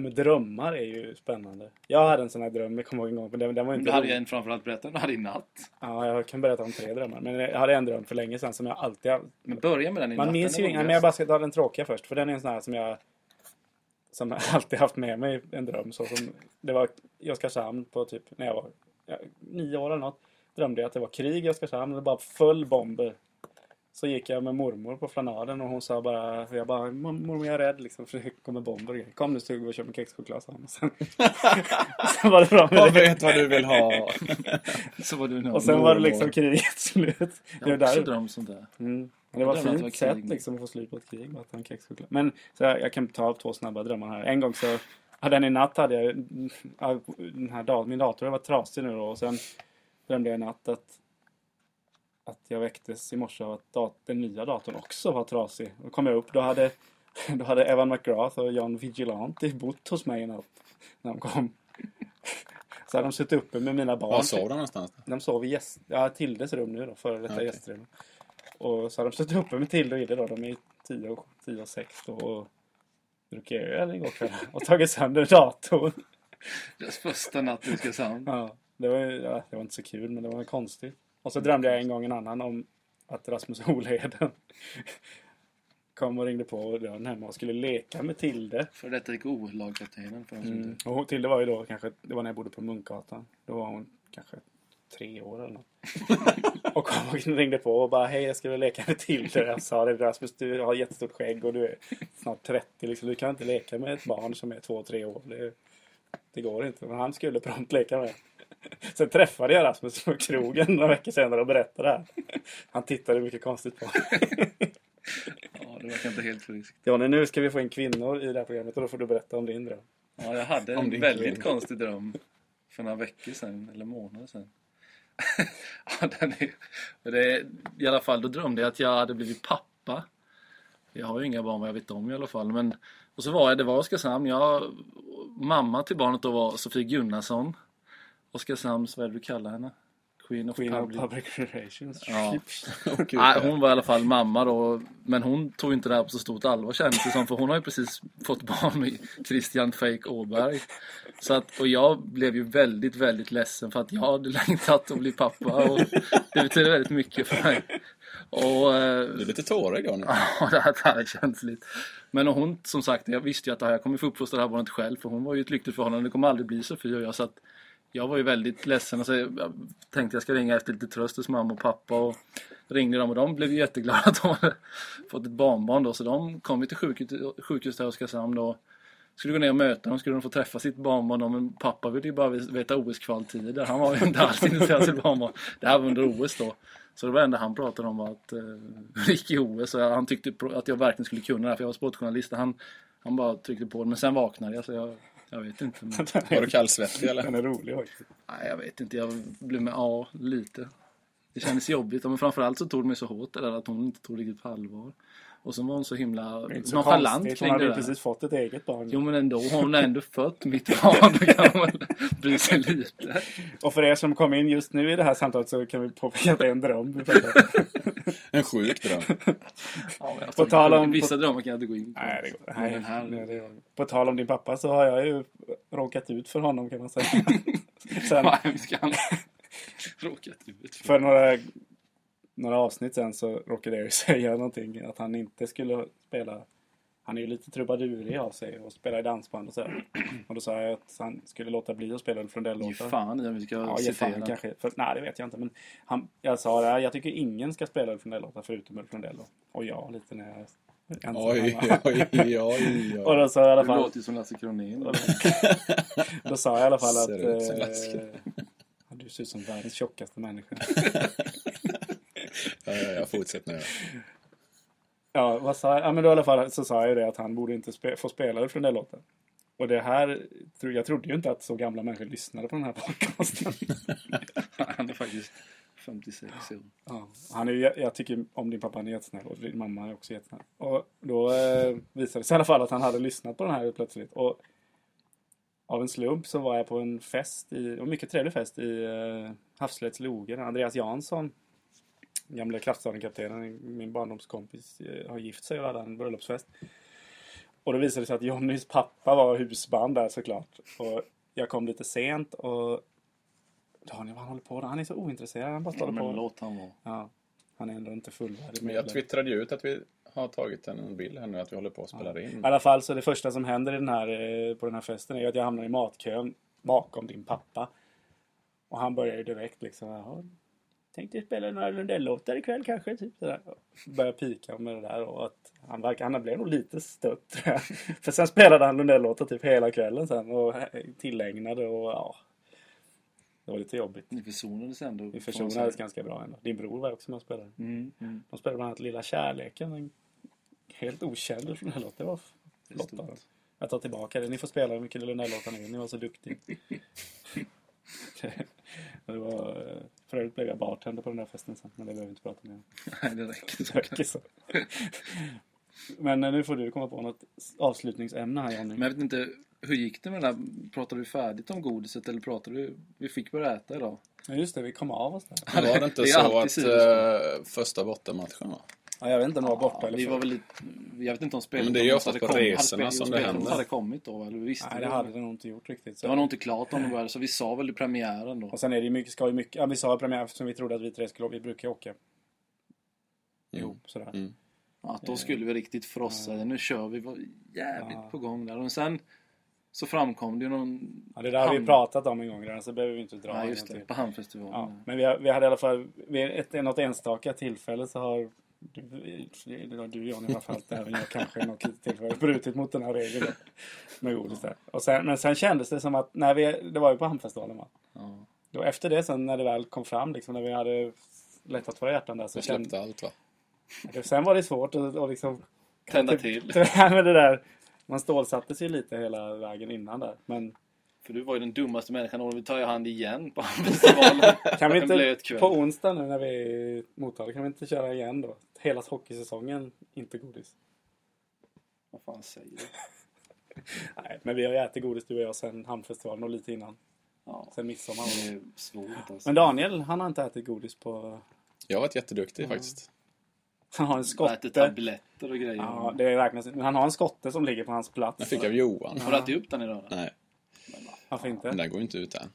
S1: men drömmar är ju spännande. Jag hade en sån här dröm, jag kommer ihåg en gång, men den, den var
S4: Men
S1: inte
S4: du hade
S1: rolig.
S4: ju en framförallt berättad, du hade ju natt.
S1: Ja, jag kan berätta om tre drömmar. Men jag hade en dröm för länge sedan som jag alltid har
S4: Men börja med den i
S1: Man
S4: natten,
S1: minns
S4: det
S1: ju
S4: var
S1: inga, men
S4: bäst.
S1: jag bara ska ta den tråkiga först. För den är en sån här som jag som jag alltid haft med mig en dröm. Så som det var i Oskarshamn på typ när jag var ja, nio år eller något. Drömde jag att det var krig i Oskarshamn och det bara föll bomber. Så gick jag med mormor på flanaden och hon sa bara, jag bara, "Mor- mormor jag är rädd liksom för det kommer bomber och grejer. Kom nu så går vi och köper en kexchoklad sa hon. Och Sen, sen var det bra med
S3: Jag
S1: det.
S3: vet vad du vill ha.
S4: Så var du en
S1: Och sen var det liksom kriget slut. Det var
S4: Jag har också
S1: där
S4: drömt sånt där.
S1: Mm. Men Det var
S4: Jag
S1: ett
S4: drömde
S1: fint
S4: att det var
S1: sätt
S4: krig.
S1: liksom, att få slut på ett krig. Med att han kexchoklad. Men så jag, jag kan ta två snabba drömmar här. En gång så hade den i natt hade jag ja, den här datorn. Min dator var trasig nu då och sen drömde jag i natt att, att jag väcktes i morse av att dat- den nya datorn också var trasig. Då kom jag upp. Då hade, då hade Evan McGrath och John Vigilante bott hos mig i natt när de kom. Så hade de suttit uppe med mina barn.
S3: Var sov de någonstans?
S1: De sov i gäst, ja, Tildes rum nu då, före detta
S3: Okej.
S1: gästrum. Och så har de suttit uppe med Tilde och Ille då. De är 10 och, 10 och 6 då och druckit öl igår kväll och tagit sönder datorn.
S4: Deras första natt i Oskarshamn.
S1: Ja, det, var, ju- ja, det var inte så kul men det var konstigt. Och så drömde jag en gång en annan om att Rasmus Olheden kom och ringde på dörren hemma och skulle leka med Tilde.
S4: För detta gick O-lagkaptenen. för de som
S1: Mm.
S4: inte-
S1: Och hon- Tilde var ju då kanske, det var när jag bodde på Munkgatan. Då var hon kanske tre år eller något. och kom och ringde på och bara hej jag skulle leka med Tilde. Jag sa det Rasmus du har jättestort skägg och du är snart 30 liksom. Du kan inte leka med ett barn som är två, tre år. Det, det går inte. Men han skulle prompt leka med. Sen träffade jag Rasmus på krogen några veckor senare och berättade det här. Han tittade mycket konstigt på mig.
S4: Ja, det verkar inte helt friskt.
S1: Johnny, nu ska vi få in kvinnor i det här programmet och då får du berätta om din dröm.
S4: Ja, jag hade
S3: Om
S4: en
S3: det inte
S4: väldigt
S3: är-
S4: konstig dröm för några veckor sedan, eller månader sedan. ja, den är, och det är, I alla fall, då drömde jag att jag hade blivit pappa. Jag har ju inga barn vad jag vet om i alla fall. Men, och så var jag, det var Oskarshamn. Jag, mamma till barnet då var Sofie Gunnarsson. Oskarshamns, vad är det du kallar henne? Queen of
S1: Queen of
S4: Public.
S1: Public Relations.
S4: Ja.
S3: Gud,
S4: Nej, hon var i alla fall mamma då. Men hon tog inte det här på så stort allvar kändes det som. För hon har ju precis fått barn med Christian Fake Åberg. Så att, och jag blev ju väldigt, väldigt ledsen för att jag hade längtat att bli pappa. Och det betyder väldigt mycket för mig. Och, eh,
S3: Du är lite tårögd Johnny.
S4: Ja, det här, det här är känsligt. Men hon, som sagt, jag visste ju att det här, jag kommer få uppfostra det här barnet själv. För hon var ju i ett lyckligt förhållande. Det kommer aldrig bli Sofie och jag. Så att jag var ju väldigt ledsen. Och så, jag tänkte jag ska ringa efter lite tröst hos mamma och pappa. Och ringde dem och de blev ju jätteglada att de hade fått ett barnbarn då. Så de kom ju till sjukhus, sjukhus där i Oskarshamn då. Skulle gå ner och möta dem, skulle de få träffa sitt barnbarn då, men pappa ville ju bara veta OS-kvaltider. Han var ju inte alls intresserad av sitt barnbarn. Det här var under OS då. Så det var det enda han pratade om var att eh, det gick i OS och han tyckte pro- att jag verkligen skulle kunna det här för jag var sportjournalist. och Han, han bara tryckte på det, men sen vaknade jag så jag, jag vet inte. Men,
S3: Var du kallsvettig eller?
S1: Den är rolig faktiskt.
S4: nej, jag vet inte. Jag blev med, ja, lite. Det kändes jobbigt. Men framförallt så tog det mig så hårt det där att hon inte tog riktigt på allvar. Och så var hon så himla
S1: Det är inte så
S4: nonchalant
S1: konstigt. Hon
S4: kring
S1: hade
S4: det
S1: ju
S4: där.
S1: precis fått ett eget barn.
S4: Jo men ändå, hon har ändå fött mitt barn. Då kan hon väl bry sig lite.
S1: Och för er som kom in just nu i det här samtalet så kan vi påpeka att det är en dröm.
S3: En sjuk dröm.
S4: Ja, men jag
S1: På tal om-
S4: Vissa drömmar kan jag inte gå in på.
S1: Nej, det går
S4: Men den här-
S1: nej, det går På tal om din pappa så har jag ju råkat ut för honom kan man säga. Sen,
S4: Vad hemskt han råkat ut för.
S1: för några, några avsnitt sen så råkade jag ju säga någonting. Att han inte skulle spela... Han är ju lite trubadurig av sig och spelar i dansband och sådär. Och då sa jag att han skulle låta bli att spela
S4: Ge
S1: frondellåtar.
S4: fan i om vi ska
S1: Ja, ge fan
S4: citera.
S1: kanske. För, nej, det vet jag inte. Men han, jag sa det, här, jag tycker ingen ska spela Ulf Lundell-låtar förutom Ulf Lundell. Och jag lite när jag ensam
S3: Oj,
S1: hemma.
S3: oj, oj, oj.
S1: Och då sa jag i alla
S4: Du
S1: fall,
S4: låter ju som Lasse Kronér.
S1: då sa jag i alla fall att...
S3: Ser ut som
S1: eh,
S3: läskigt.
S1: ja, du ser ut som världens tjockaste människa.
S3: Ja, ja, ja, fortsätt nu.
S1: Ja, vad sa jag? Ja, men då i alla fall så sa jag ju det att han borde inte spe, få spela Ulf Lundell-låten. Och det här, tro- jag trodde ju inte att så gamla människor lyssnade på den här podcasten.
S4: Han är faktiskt 56 år.
S1: Ja, han är, ju- jag tycker om din pappa, han är jättesnäll och din mamma är också jättesnäll. Och då eh, visade det sig i alla fall att han hade lyssnat på den här plötsligt. Och av en slump så var jag på en fest, i, en mycket trevlig fest i eh, Havslöjts loge. Andreas Jansson, gamle Kraftstaden-kaptenen, min barndomskompis, eh, har gift sig och hade en bröllopsfest. Och då visade det sig att Johnnys pappa var husband där såklart. Och jag kom lite sent och Daniel, vad han håller på med? Han är så ointresserad. Han bara står
S4: Ja,
S1: och på.
S4: men låt han vara.
S1: Ja, han är ändå inte fullvärdig
S3: Men jag
S1: medlem.
S3: twittrade ju ut att vi har tagit en bild här nu, att vi håller på att spela
S1: I
S3: in.
S1: alla fall så det första som händer i den här, eh, på den här festen är ju att jag hamnar i matkön bakom din pappa. Och han börjar ju direkt liksom, jaha, tänkte spela några Lundell-låtar ikväll kanske, typ sådär. Börjar pika med det där och att han, verkar, han blev nog lite stött tror jag. För sen spelade han Lundell-låtar typ hela kvällen sen och eh, tillägnade och ja. Det var lite jobbigt.
S4: Ni försonades ändå.
S1: Vi försonades ganska bra ändå. Din bror var också med och spelade.
S4: Mm, mm.
S1: De spelade bland annat Lilla Kärleken. En helt okänd från den här låten. Det var flott av dem. Jag tar tillbaka det. Ni får spela hur mycket Lundell-låtar ni vill. Ni var så duktiga. det var, eh, för övrigt blev jag bartender på den där festen sen. Men det behöver vi inte prata mer om.
S4: Nej, det räcker så.
S1: Räcker så. Men eh, nu får du komma på något avslutningsämne här Johnny.
S4: Men jag vet inte, hur gick det med den här? Pratade du färdigt om godiset eller pratade du... Vi fick börja äta idag.
S1: Ja, just det, vi kom av oss där.
S3: Men Var det inte
S4: Det är
S3: så
S4: alltid
S3: att
S4: sidospår.
S3: eh, första bortamatchen va?
S1: Ja, jag vet inte om jag var borta eller
S4: vi
S1: för-
S4: var väl lite, jag vet inte om spelet...
S3: Men det är ju oftast på resorna som det händer.
S4: hade kommit då, eller vi visste
S1: Nej,
S4: det.
S1: det hade det nog inte gjort riktigt. Så.
S4: Det var nog inte klart om det började, så vi sa väl i premiären då.
S1: Och sen är det ju mycket, ska ju mycket, ja, vi sa i premiär eftersom vi trodde att vi tre skulle, vi brukar ju åka ihop sådär.
S3: Mm.
S4: Att då skulle vi riktigt frossa. Nu kör vi. Vi var jävligt
S1: Ja.
S4: på gång där. Och sen så framkom det ju någon...
S1: Ja, det där har vi
S4: Hamn-
S1: pratat om en gång redan, så behöver vi inte dra
S4: Nej,
S1: en
S4: just
S1: gång
S4: det.
S1: till.
S4: På Hamnfestivalen.
S1: Ja,
S4: Ja.
S1: men vi, har, vi hade i alla fall, vid ett, något enstaka tillfälle så har du, det var du Johnny framförallt, även jag kanske något tillfälle brutit mot den här regeln. Med godis där. Och sen, men sen kändes det som att, när vi, det var ju på Hamnfestivalen va?
S4: Ja.
S1: Då efter det sen när det väl kom fram, liksom, när vi hade lättat våra hjärtan där, så
S3: Vi
S1: kände,
S3: släppte allt va?
S1: sen var det svårt att och liksom
S4: Tända till.
S1: Det här med Typ. det där. Man stålsatte sig lite hela vägen innan där. Men
S4: För du var ju den dummaste människan. Och vi tar ju hand igen på Hamnfestivalen.
S1: kan vi
S4: En blöt
S1: inte
S4: kväll.
S1: på onsdag nu när vi är i Motala, kan vi inte köra igen då? Hela hockeysäsongen, inte godis.
S4: Vad fan säger du?
S1: Nej, men vi har ju ätit godis du och jag sen Hamnfestivalen och lite innan.
S4: Ja.
S1: Sen midsommar.
S4: Det är svårt alltså.
S1: Men Daniel, han har inte ätit godis på...
S3: Jag har varit jätteduktig faktiskt.
S1: Han har en
S4: Äter
S1: skotte.
S4: tabletter och grejer.
S1: Ja, det räknas inte. Men han har en skotte som ligger på hans
S3: Den
S1: plats.
S3: fick jag av Johan.
S4: Har du ätit upp den idag då?
S3: Nej,
S1: Varför
S3: den
S1: inte?
S3: där går ju inte ut än.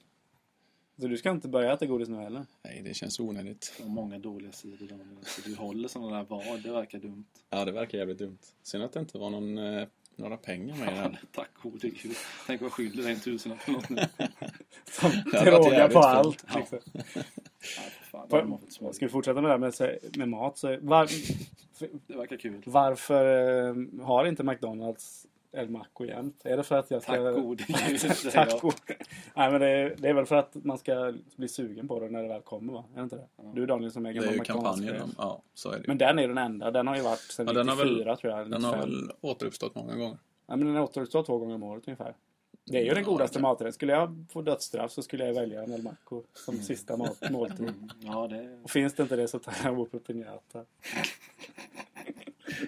S1: Så du ska inte börja äta godis nu heller?
S3: Nej, det känns onödigt.
S4: Det har många dåliga sidor Daniel. Så du håller sådana där vad. Det verkar dumt.
S3: Ja, det verkar jävligt dumt. Synd att det inte var någon, eh, några pengar med i den.
S4: Tack oh, gode gud. Tänk vad jag skyller dig en tusenlapp för något nu.
S1: Som
S3: hade varit
S1: drogar
S3: jävligt
S1: på
S3: fint.
S1: allt.
S4: Ja.
S1: Liksom.
S4: Nej, fan, det har man fått
S1: Får-
S4: smörja.
S1: Ska vi fortsätta med det här med, så- med mat? Så var,
S4: Det verkar kul.
S1: Varför eh, har inte McDonalds El Maco jämt? Är det för att jag ska...
S4: Tack oh, gode gud, säger jag.
S1: Taco. Nej, men det, är, det är väl för att man ska bli sugen på det när det väl kommer, va? Är det inte det? Du Daniel som är
S3: Det är
S1: gammal
S3: ju kampanjen.
S1: McDonalds-chef.
S3: om- Ja, så är det ju.
S1: Men den är den enda. Den har ju varit sedan
S3: Ja, den har
S1: 94,
S3: väl-
S1: tror jag.
S3: Den har
S1: 95.
S3: väl återuppstått många gånger.
S1: Nej, men den återuppstår två gånger om året ungefär. Det är ju den godaste maträtten. Skulle jag få dödsstraff så skulle jag välja en almanacco som
S4: Mm.
S1: sista mat, måltid.
S4: Ja, det...
S1: Och finns det inte det så tar jag Whopper Pinata.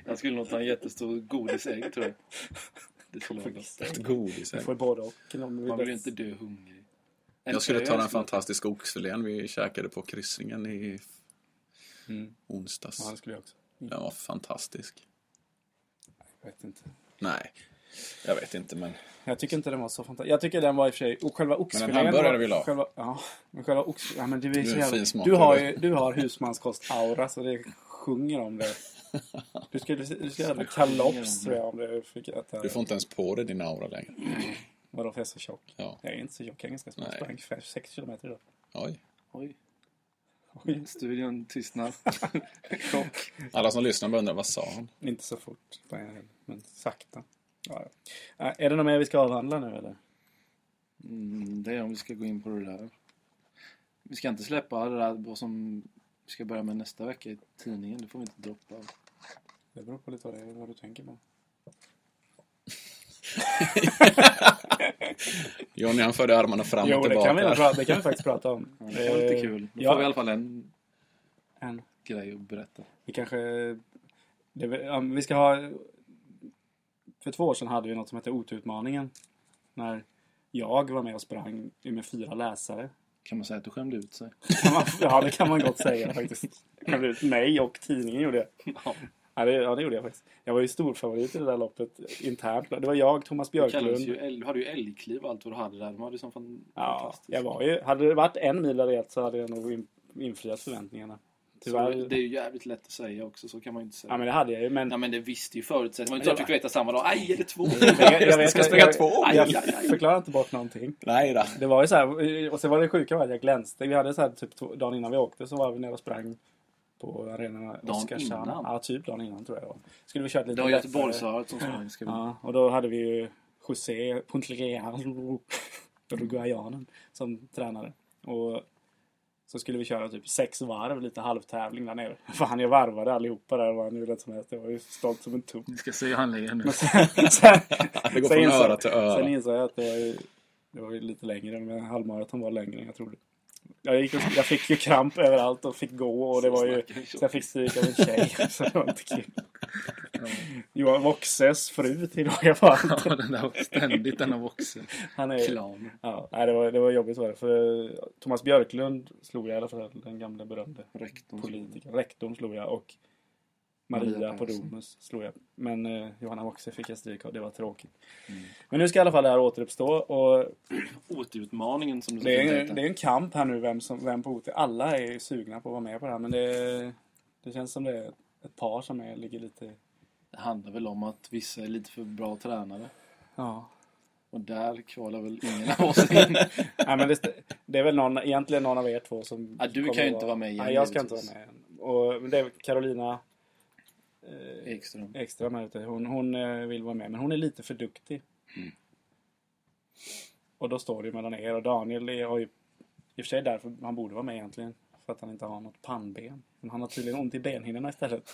S4: Jag skulle nog ta en jättestor godisägg tror jag. Det skulle vara gott.
S3: Ett godis.
S1: Du får både och. om du vill
S4: Man vill ju
S1: döds-
S4: inte dö hungrig. En
S3: Jag skulle
S4: ö
S3: ta den fantastiska oxfilén vi käkade på kryssningen i
S1: Mm.
S3: onsdags.
S1: Ja, det skulle jag också.
S3: Den var fantastisk.
S1: Jag vet inte.
S3: Nej, jag vet inte men
S1: Jag tycker inte den var så fantastisk. Jag tycker den var i och för sig... Och själva oxfilén...
S3: hamburgare
S1: var-
S3: vill ha.
S1: Själva, ja, men själva ox... Ja, men det är
S3: Du
S1: så
S3: är en
S1: jävla-
S3: fin smak,
S1: du har
S3: eller?
S1: ju du har husmanskost-aura så det sjunger om det. Du skulle, du skulle göra kalops tror jag om du fick äta...
S3: du får inte ens på dig din aura längre.
S1: Vadå för jag är så tjock?
S3: Ja.
S1: Jag är inte så tjock, jag är ganska smal.
S3: Nej.
S1: Jag sprang ungefär 6 kilometer idag.
S3: Oj.
S4: Oj,
S1: Oj,
S4: studion tystnar.
S3: Alla som lyssnar bara undrar vad sa han?
S1: Inte så fort, men- men sakta. Ja, ja. Äh, Är det något mer vi ska avhandla nu eller?
S4: Mm, det är om vi ska gå in på det där. Vi ska inte släppa det där vad som vi ska börja med nästa vecka i tidningen. Det får vi inte droppa.
S1: Det beror på lite vad, det är, vad du tänker på.
S3: Johnny han förde armarna fram
S1: Jo,
S3: och
S1: det
S3: tillbaka.
S1: kan, vi, nog pra- det kan vi faktiskt prata om.
S4: Det var lite kul. Då
S1: Eh, Ja,
S4: får vi i alla fall en
S1: en.
S4: grej att berätta.
S1: Vi kanske... Det, är väl- ja, men vi ska ha... För två år sedan hade vi något som hette OT-utmaningen. När jag var med och sprang med fyra läsare.
S4: Kan man säga att du skämde ut sig?
S1: Kan man- Ja, det kan man gott säga faktiskt. Jag blev ut mig och tidningen gjorde jag. Ja det, ja, det gjorde jag faktiskt. Jag var ju storfavorit i det där loppet internt. Det var jag, Thomas
S4: Det kallades ju
S1: Björklund.
S4: älg, hade ju älgkliv och allt vad du hade där. De hade ju sån fan,
S1: Ja,
S4: fantastisk...
S1: jag var ju... Hade det varit en mil eller ett så hade jag nog in- infriat förväntningarna.
S4: Så
S1: Tyvärr.
S4: det är ju jävligt lätt att säga också, så kan man ju inte säga.
S1: Ja, men det hade jag ju. Men
S4: Nej men det visste ju förutsättningarna. Man fick veta samma dag. Aj, är det två?
S1: Jag, jag
S3: Jag
S1: vet,
S3: ska springa
S1: jag,
S3: två om.
S1: jag, jag förklarar inte bort någonting.
S3: Nej då.
S1: Det var ju så här, eh, och sen var det sjuka var att jag glänste. Vi hade så här typ två, dagen innan vi åkte så var vi nere och sprang på arenan
S4: Dagen
S1: Oskarshamn.
S4: innan?
S1: Ja, typ dagen innan tror jag det var. Skulle vi kört lite
S4: Det var
S1: lättare.
S4: Göteborgsvarvet som sprang. Ska vi...
S1: Ja, och då hade vi ju José Pontlereal, Uruguayanen, som tränare. Och så skulle vi köra typ sex varv, lite halvtävling där nere. Fan, jag varvade allihopa där. Det var hur lätt som helst. Jag var ju stolt som en tupp.
S4: Ni ska se hur han ler nu.
S1: sen,
S3: Det går
S1: sen
S3: från
S1: insåg-
S3: öra till öra.
S1: Sen insåg jag att det var, ju, det var ju lite längre, men halvmaraton var längre än jag trodde. Jag, gick och, jag fick ju kramp överallt och fick gå och det var ju... Så jag fick stryk av en tjej, så det var inte kul. Johan Voxes fru till råga på allt.
S4: Ja, den där ständigt denna voxer.
S1: Han är ju...
S4: Klan.
S1: Ja, nej, det, var, det var jobbigt var det. För eh, Thomas Björklund slog jag i alla fall, den gamla berömde
S4: Rektorn.
S1: politikern. Rektorn slog jag och Maria,
S4: Mm. Maria
S1: på
S4: Persson.
S1: Domus slog jag. Men eh, Johanna Voxer fick jag stryk av. Det var tråkigt.
S4: Mm.
S1: Men nu ska i alla fall det här återuppstå. Och
S4: Återutmaningen som du
S1: det, är
S4: heter.
S1: en, det är en kamp här nu vem, som, vem på OT. Alla är ju sugna på att vara med på det här. Men det, det känns som det är ett par som är, ligger lite...
S4: Det handlar väl om att vissa är lite för bra tränare.
S1: Ja.
S4: Och där kvalar väl ingen av oss in.
S1: Nej, men det, det är väl någon, egentligen någon av er två som...
S4: Ja, du
S1: kommer
S4: kan ju
S1: att
S4: inte vara med igen,
S1: Nej, jag ska inte
S4: givetvis.
S1: vara med. igen. Och, men det är Carolina
S4: Ekström.
S1: extra med ute. Hon, hon eh, vill vara med, men hon är lite för duktig. Och då står det ju mellan er och Daniel. är- har ju, I och för sig därför han borde vara med egentligen. För att han inte har något pannben. Men han har tydligen ont i benhinnorna istället.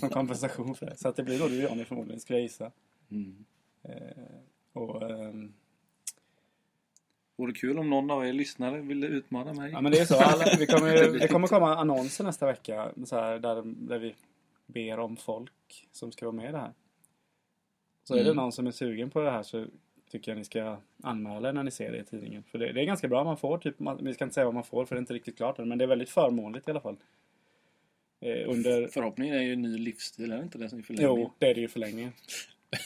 S1: Som kompensation för det. Så att det blir då du och Daniel förmodligen, skulle jag gissa. Eh,
S4: Mm.
S1: Och, ehm,
S4: Vore kul om någon av er lyssnare ville utmana mig.
S1: Ja men det är så. Alla, vi kommer, ju- det
S4: typ-
S1: kommer komma annonser nästa vecka så här, där, där vi ber om folk som ska vara med i det här. Så
S4: Mm.
S1: är det någon som är sugen på det här så tycker jag ni ska anmäla er när ni ser det i tidningen. För det, det är ganska bra man får. Typ, man, vi ska inte säga vad man får för det är inte riktigt klart än. Men det är väldigt förmånligt i alla fall. Eh, under...
S4: Förhoppningen är ju en ny livsstil, är det inte det som är förlängningen?
S1: Jo, det är det ju för länge.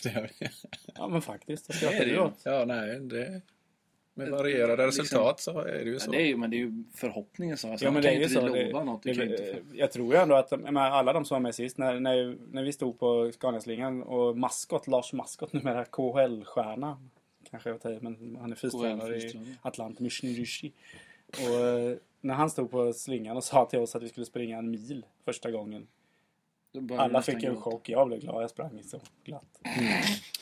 S3: Det gör vi.
S1: Ja men faktiskt. Jag
S4: Det är
S1: skrattar
S4: det
S1: du
S4: ju.
S1: åt.
S3: Ja, nej, det... Med varierade resultat så är det ju
S4: Ja,
S3: så.
S4: det är ju, men det är ju förhoppningen så. Alltså,
S1: Ja, men
S4: man
S1: det
S4: kan
S1: är ju
S4: inte
S1: så.
S4: lova
S1: Det,
S4: något. Du
S1: det,
S4: kan ju inte...
S1: jag tror ju ändå att de- jag menar, alla de som var med sist, när, när, när vi stod på Scaniaslingan och maskot, Lars Maskot, numera KHL-stjärna. Kanske jag tar i, men han är fystränare i
S4: fystränare.
S1: Atlanta Mishnirishi. Och eh, när han stod på slingan och sa till oss att vi skulle springa en mil första gången.
S4: Då börjar
S1: Alla
S4: nästan Mm.
S1: fick en
S4: gråta.
S1: chock. Jag blev glad. Jag sprang så glatt.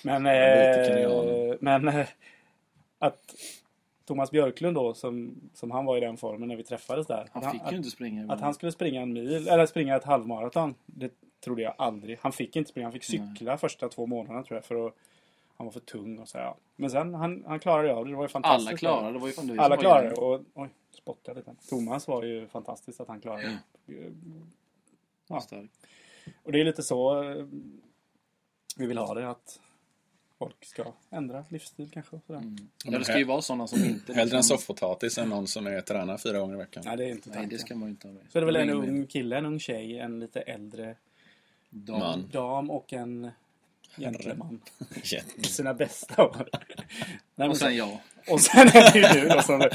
S1: Men,
S3: lite
S1: eh,
S3: kenyan.
S1: men eh, att Thomas Björklund då, som, som han var i den formen när vi träffades där.
S4: Han fick ju inte springa.
S1: Att han skulle springa en mil, eller springa ett halvmaraton, det trodde jag aldrig. Han fick inte springa, han fick cykla första två månaderna tror jag för att Han var för tung och så här. ja. Men sen, han, han klarade det av det. Det var ju fantastiskt.
S4: Alla klarade det. var ju fan du som
S1: Alla
S4: var
S1: klarade det.
S4: igen.
S1: Och, oj, spottade lite. Thomas var ju fantastiskt att han klarade
S4: Mm.
S1: det.
S4: Stark.
S1: Och det är lite så eh, vi vill ha det. Att folk ska ändra livsstil kanske. Och sådär.
S4: Ja, det ska ju vara sådana som inte...
S3: Hellre en
S4: liksom-
S3: soffpotatis än någon som är tränare fyra gånger i veckan.
S1: Nej, det är inte
S4: Nej,
S1: tanken.
S4: det ska man ju inte ha med.
S1: Så är det väl en
S4: Ingen
S1: ung kille, en ung tjej, en lite äldre
S4: dam.
S3: Man.
S1: dam och en gentleman.
S3: Jätte-
S1: I Sina bästa år. Nej, men
S4: Och sen jag.
S1: och sen är det ju du då som...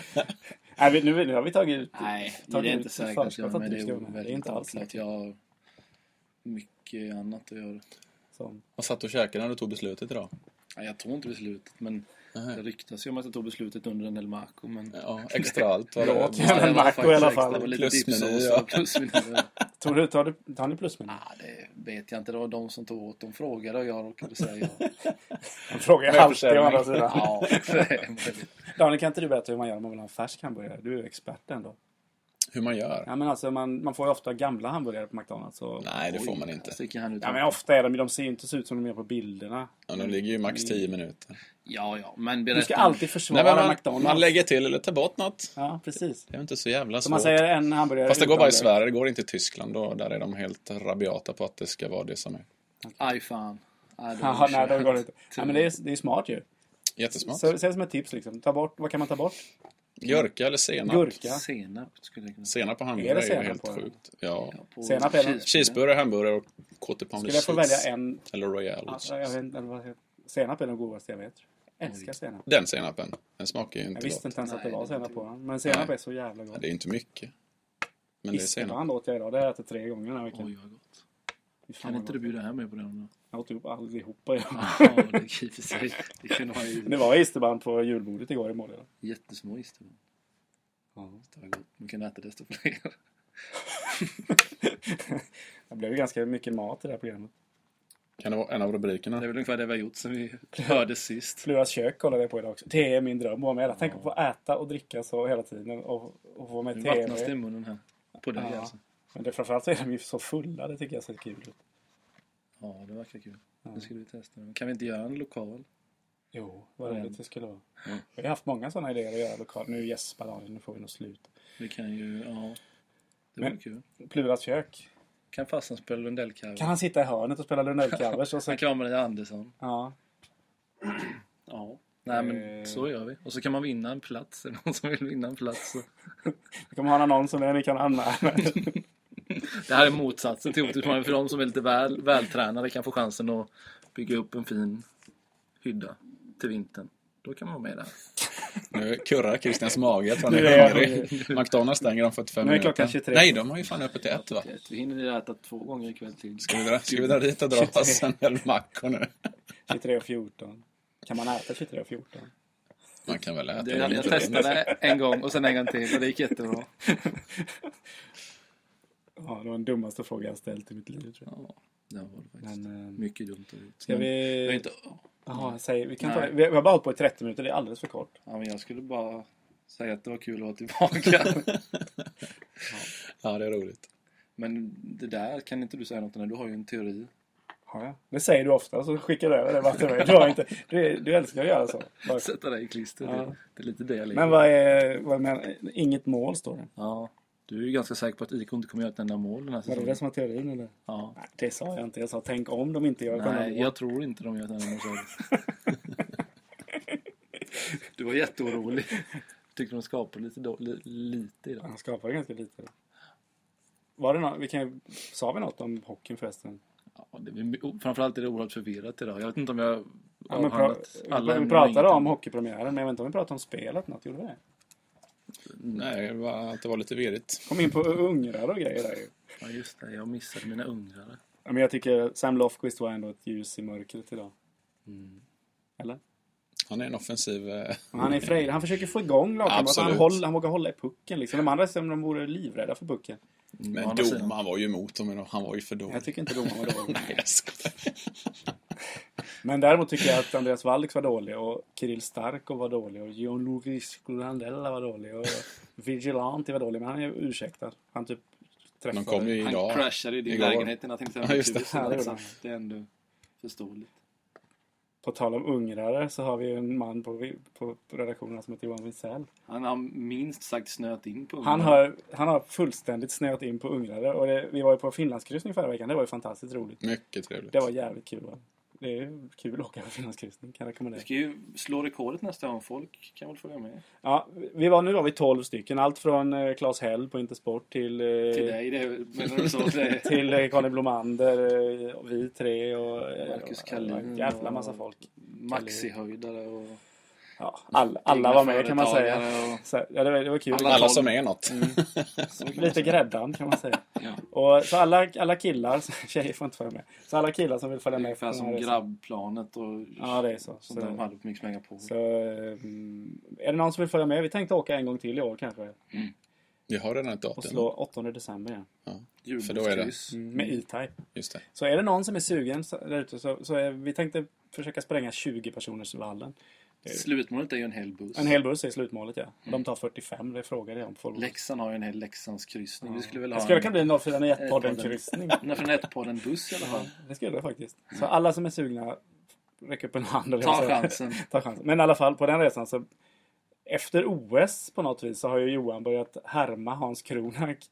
S1: Nej, vi- nu, nu har vi tagit ut...
S4: Nej, det
S1: tagit
S4: är
S1: ut
S4: inte säkert att jag är
S1: förskott
S4: med.
S1: du
S4: Det
S1: ska vara
S4: är
S1: med. Det är
S4: väldigt
S1: inte alls
S4: oklart.
S1: säkert.
S4: Jag har mycket annat att göra.
S1: Som,
S3: Vad satt du och käkade när du tog beslutet idag?
S4: Nej, jag tog inte beslutet, men det ryktas ju om att jag tog beslutet under en El Maco. Men...
S3: Ja, extra allt. Var
S1: Ja,
S3: det,
S1: ja.
S4: det var
S1: Maco i
S4: faktiskt
S1: alla
S4: extra.
S1: fall.
S4: Det var lite
S3: Plusmeny,
S4: dipsås
S3: ja.
S4: och plusmeny.
S1: tror du, tar, du, tar ni plusmeny?
S4: Ah, det vet jag inte. Det var de som tog åt. De frågade och jag råkade säga ja.
S3: Ah,
S1: Den frågar jag alltid å andra sidan.
S4: ja. det är möjligt.
S1: Daniel, kan inte du berätta hur man gör om man vill ha en färsk hamburgare? Du är ju expert ändå.
S3: hur man gör?
S1: Ja, men alltså, man, man får ju ofta gamla hamburgare på McDonalds. Och,
S3: Nej, det får man inte.
S4: Sticker han ut.
S1: Ja, men ofta är de De ser ju inte så ut som de gör på bilderna.
S3: Ja, de ligger ju max 10 minuter.
S4: ja, ja, men
S1: Du
S4: berätta.
S1: ska alltid försvara
S3: Nej, men man,
S1: McDonalds.
S3: man lägger till eller tar bort något.
S1: Ja, precis.
S3: Det är inte så jävla
S1: Så man
S3: svårt.
S1: säger en hamburgare
S3: Fast det går
S1: utan
S3: bara i
S1: lök.
S3: Sverige, det går inte i Tyskland. Då, där är de helt rabiata på att det ska vara det som är.
S4: Aj fan. Aj, då
S1: Ja, nej, då går det inte. Ja, men det är, det är smart ju.
S3: Jättesmart.
S1: Så, säg som ett tips liksom. Ta bort, vad kan man ta bort?
S3: Gurka eller senap?
S1: Gurka.
S4: Senap skulle jag kunna säga.
S3: Senap på
S1: Är det
S3: hamburgare är,
S1: senap
S3: ju helt
S1: på den?
S3: sjukt. Ja.
S4: På
S1: Senap är det-
S4: cheeseburgare.
S3: Cheeseburgare, hamburgare och kåte pommes
S1: Skulle jag få
S3: frites.
S1: välja en?
S3: Eller royal.
S1: Alltså, jag vet inte, eller vad heter- senap är den godaste jag vet. Älskar senap.
S3: Den senapen. Den smakar ju
S1: Jag
S3: inte gott.
S1: visste inte ens att det
S4: Nej,
S1: var
S4: det är
S1: senap på den. Men senap
S3: Nej.
S1: är så jävla
S3: Ja,
S1: gott.
S3: det är inte mycket. Men det är senap.
S1: Isterband åt jag idag. Det har jag ätit tre gånger den här veckan.
S4: Oj, vad gott.
S1: Fy fan
S4: Kan
S1: vad
S4: inte du
S1: gott.
S4: bjuda hem mig på det? om du-
S1: Jag åt ihop allihopa idag.
S4: Ja, det är i och för sig. Det kunde vara ju
S1: Det var isterband på julbordet igår i Målilla.
S4: jättesmå isterband.
S1: Ja.
S4: Det var gott. Man kan äta desto fler.
S1: Det blev ju ganska mycket mat i det här programmet.
S3: Kan det vara en av
S4: Det är
S3: rubrikerna?
S4: väl ungefär det vi har gjort sen vi hördes sist.
S1: Fluas kök kollade jag på idag också. Det är min dröm att vara med. Jag tänker på att äta och dricka så hela tiden och, och få
S4: Nu
S1: med
S4: vattnas det i
S1: tv.
S4: munnen här. På dig
S1: Ja.
S4: alltså.
S1: Men det, framförallt så är de ju så fulla. Det tycker jag ser kul ut.
S4: Ja, det verkar kul. Nu ska vi testa. den. Kan vi inte göra en lokal?
S1: Jo, vad
S4: Men-
S1: roligt det skulle vara.
S4: Mm.
S1: Vi har haft många sådana idéer att göra lokalt. Nu gäspar Daniel, nu får vi nog slut.
S4: Vi kan ju, ja. Det
S1: Men-
S4: vore kul.
S1: Pluras kök.
S4: Kan farsan spela Lundellkarv?
S1: Kan han sitta i hörnet och spela Lundell-covers? och så-
S4: Han kan vara Maria Andersson.
S1: Ja,
S4: Ja. Nej
S1: Eh.
S4: men så gör vi. Och så kan man vinna en plats. Är det någon som vill vinna en plats? Så.
S1: då kan man ha en annons om det ni kan anmäla.
S4: Det här är motsatsen till otipsmannen. För de som är lite väl, vältränade kan få chansen att bygga upp en fin hydda till vintern. Då kan man vara med där.
S3: Nu kurrar Christians mage. Jag tror han
S1: Nu
S3: är
S1: är jag
S3: hungrig. McDonalds stänger om 45
S1: Nu är
S3: minuter.
S1: klockan 23.
S3: Nej, de har ju fan öppet till ett va?
S4: Vi hinner äta två gånger ikväll till.
S3: Ska vi dra, ska vi dra dit och dra oss en hel macka nu?
S1: 23 och 14. Kan man äta 23 och 14?
S3: Man kan väl äta
S4: Det, jag
S3: lite.
S4: testade en gång och sen en gång till och det gick jättebra.
S1: Ja, det var den dummaste frågan jag ställt i mitt liv tror jag.
S4: Ja, det var det faktiskt.
S1: Men, eh,
S4: Mycket dumt att ut.
S1: ska
S4: Jag, är
S1: vi...
S4: inte,
S1: Jaha, säg, vi, kan ta,
S4: Nej.
S1: vi har bara hållit på i 30 minuter, det är alldeles för kort.
S4: ja, men jag skulle bara säga att det var kul att vara tillbaka.
S3: Ja, det är roligt.
S4: men det där kan inte du säga något om. Du har ju en teori.
S1: Har jag? Det säger du ofta, så skickar du över det bara till mig. Du, har inte, du, du älskar att göra så. Bara-
S4: Sätta dig i klister.
S1: Ja.
S4: Det, det är lite det jag lever
S1: Men
S4: i.
S1: vad är... Vad menar, inget mål står det.
S4: Ja, du är ju ganska säker på att IK inte kommer göra ett enda mål den här
S1: Var det
S4: säsongen.
S1: det som var teorin eller?
S4: Ja.
S1: Nej, det sa jag inte. Jag sa tänk om de inte gör själva
S4: Nej,
S1: mål.
S4: jag tror inte de gör ett enda mål. sa du. du var jätteorolig. Tyckte de skapade lite, då, li, lite idag.
S1: Han skapade ganska lite. Var det någon, vi kan, ju- sa vi något om hockeyn förresten?
S4: Ja, det, är- framförallt är det oerhört förvirrat idag. Jag vet inte om jag
S1: Ja, men pra,
S4: avhandlat
S1: vi, vi
S4: ämnen och
S1: pratade
S4: ingenting.
S1: om hockeypremiären, men jag vet inte om vi pratade om spelet något. Gjorde vi det?
S3: Nej, det var, att det var lite virrigt.
S1: Kom in på ungrare och grejer där ju.
S4: Ja, just det. Jag missade mina ungrare.
S1: Ja, men jag tycker Sam Lofquist var ändå ett ljus i mörkret idag.
S4: Mm.
S1: Eller?
S3: Han är en offensiv... eh,
S1: Men han är frejdig. Han försöker få igång lagkamraterna. Han,
S3: Absolut.
S1: håller- han vågar hålla i pucken liksom. De andra är som de vore livrädda för pucken.
S4: å
S3: Men
S4: andra sidan.
S3: domaren var ju emot dem. idag. Han var ju för dålig.
S1: Jag tycker inte domaren var dålig.
S3: Nej, jag skojar.
S1: Men däremot tycker jag att Andreas Wallix var dålig och Kirill Starko var dålig och Gianluigi Gurandella var dålig och Vigilante var dålig. Men han är ju ursäktad. Han typ träffade...
S3: De kom ju
S2: Han
S3: idag.
S2: crashade i din
S3: Igår.
S2: lägenhet i natten.
S3: Ja, just det.
S1: Ja, det
S2: det.
S1: gjorde
S2: Så
S1: han.
S2: att det är ändå förståeligt.
S1: På tal om ungrare så har vi ju en man på, på, på redaktionen som heter Johan Wintzell.
S4: Han har minst sagt snöat in på
S1: Han
S4: ungdomarna.
S1: har, han har fullständigt snöat in på ungrare och det, vi var ju på Finlandskryssning förra veckan. Det var ju fantastiskt roligt.
S3: Mycket trevligt.
S1: Det var jävligt kul. Va? Det är ju kul att åka på Finlandskryssning. Kan rekommendera.
S4: Vi ska ju slå rekordet nästa gång. Folk kan väl följa med?
S1: Ja, vi var, nu var vi 12 stycken. Allt från eh, Claes Hell på Intersport till, eh,
S4: Till dig, det är, menar du så? Det är,
S1: till eh, Conny Blomander, eh, och vi tre och eh,
S4: Marcus
S1: och-
S4: Kallin
S1: och en jävla
S4: och-
S1: massa folk.
S4: Maxihöjdare och...
S1: Ja, alla, alla
S4: egna
S1: var med kan man säga.
S4: företagare och-
S1: Så, ja, det, var- det var Mm. kul.
S3: Alla som är något.
S1: Lite gräddan kan man säga. och, så alla, alla killar, tjejer får inte följa med. Så alla killar som vill följa med. på
S4: Ungefär
S1: den här
S4: som
S1: resan.
S4: grabbplanet och...
S1: Ja, det är så.
S4: Som
S1: Så-
S4: de hade på Mix Megapol.
S1: Så, mm, är det någon som vill följa med? Vi tänkte åka en gång till i år kanske.
S3: Vi har redan ett
S1: Och
S3: datum.
S1: slå 8 december igen.
S3: Ja, för då är det.
S4: Julbordskryss.
S1: Med E-Type.
S3: Just det.
S1: Så är det någon som är sugen så- där ute så, så är, vi tänkte försöka spränga 20 personers vallen.
S4: Slutmålet är ju en hel buss.
S1: En hel buss är slutmålet
S4: Mm.
S1: ja. De tar 45, det frågade jag om folk.
S4: Leksand har ju en hel Leksandskryssning. Vi skulle väl
S1: Det
S4: ha
S1: skulle kunna bli en
S4: en-
S1: 0491-podden-kryssning.
S4: en från ett på en buss i alla fall.
S1: Det skulle det faktiskt. Så alla som är sugna, räck upp en hand. eller
S4: Mm. Ta
S1: vad jag säger.
S4: chansen.
S1: Ta chansen. Men i alla fall, på den resan så... Efter OS på något vis så har ju Johan börjat härma Hans Kronark.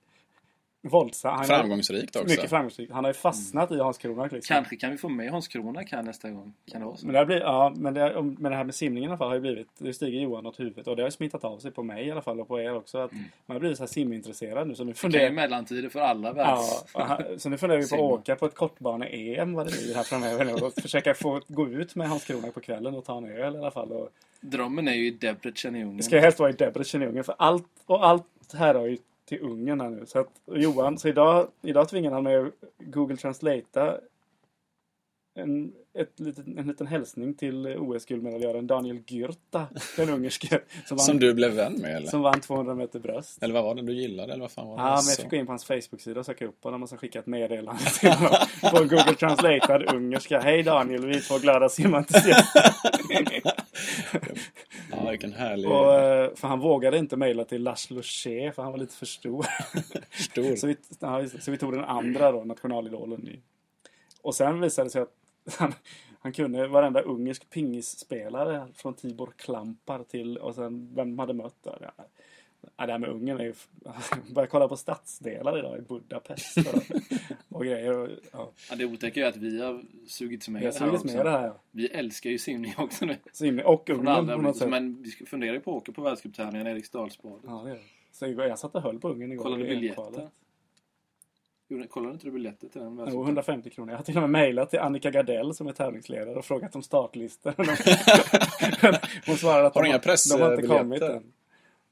S1: Våldsamt. Han har-
S3: Framgångsrikt också.
S1: Mycket framgångsrikt. Han har ju fastnat i Hans Kronark liksom.
S4: Kanske kan vi få med Hans Kronak här nästa gång. Kan det vara så?
S1: Men det, här blir, ja, men, det, om- men det här med simningen i alla fall har ju blivit, det stiger Johan åt huvudet och det har ju smittat av sig på mig i alla fall och på er också. Att
S4: Mm.
S1: Man har blivit så här simintresserad nu så nu
S4: Det är
S1: funderar,
S4: mellantider för alla
S1: ja,
S4: världs...
S1: och här- så nu funderar vi på att
S4: Simma.
S1: åka på ett kortbane-EM vad det blir här framöver nu och försöka få gå ut med Hans Krona på kvällen och ta en öl i alla fall. Och,
S4: Drömmen är ju i Debrecen i Ungern.
S1: det ska helst vara i Debrecen i Ungern för allt, och allt här har ju till Ungern här nu. Så att, och Johan, så idag, idag tvingar han mig att Google Translate en, ett litet, en liten hälsning till OS-guldmedaljören Daniel Gyrta, den ungerske, som vann,
S3: Som du blev vän med eller?
S1: som vann 200 meter bröst.
S3: Eller vad var det du gillade? Eller vad fan var det? Alltså.
S1: Ja, men jag
S3: Så-
S1: fick gå in på hans Facebook-sida och söka upp honom och så skicka ett meddelande till honom på en Google Translatead ungerska. Hej Daniel, vi är två glada simentusiaster.
S3: Ja, vilken härlig...
S1: Och, eh, för han vågade inte mejla till Laszlo Che för han var lite för stor.
S3: Stor.
S1: Så vi, ja, just det. så vi tog den andra då, nationalidolen. i- Och sen visade det sig att han, han kunde varenda ungersk pingisspelare från Tibor Klampar till och sen vem de hade mött. Där. Ja, Ja, det här med Ungern är ju... Jag började kolla på stadsdelar idag i Budapest och, och grejer. Och, ja.
S4: Ja, det otäcka är ju att vi har sugits med
S1: Jag
S4: det här
S1: sugs
S4: också.
S1: med det här. ja.
S4: Vi älskar ju simning också nu.
S1: Så himla- Och
S4: Från
S1: Ungern
S4: alla
S1: på något
S4: blivit,
S1: sätt.
S4: men vi ska- funderar ju på att åka på världscuptävlingen i Eriksdalsbadet.
S1: Ja, det är det. Så igår, jag satt och höll på Ungern igår.
S4: Kollade
S1: i
S4: biljetter.
S1: kvalet.
S4: Gjorde- Kollade inte du biljetter till den
S1: Jo,
S4: världscuptävlingen?
S1: 150 kronor. Jag har till och med mejlat till Annika Gardell som är tävlingsledare och frågat om startlistor. Hon svarade att
S3: Har
S1: de,
S3: du inga
S1: de har inte
S3: pressbiljetter?
S1: kommit än.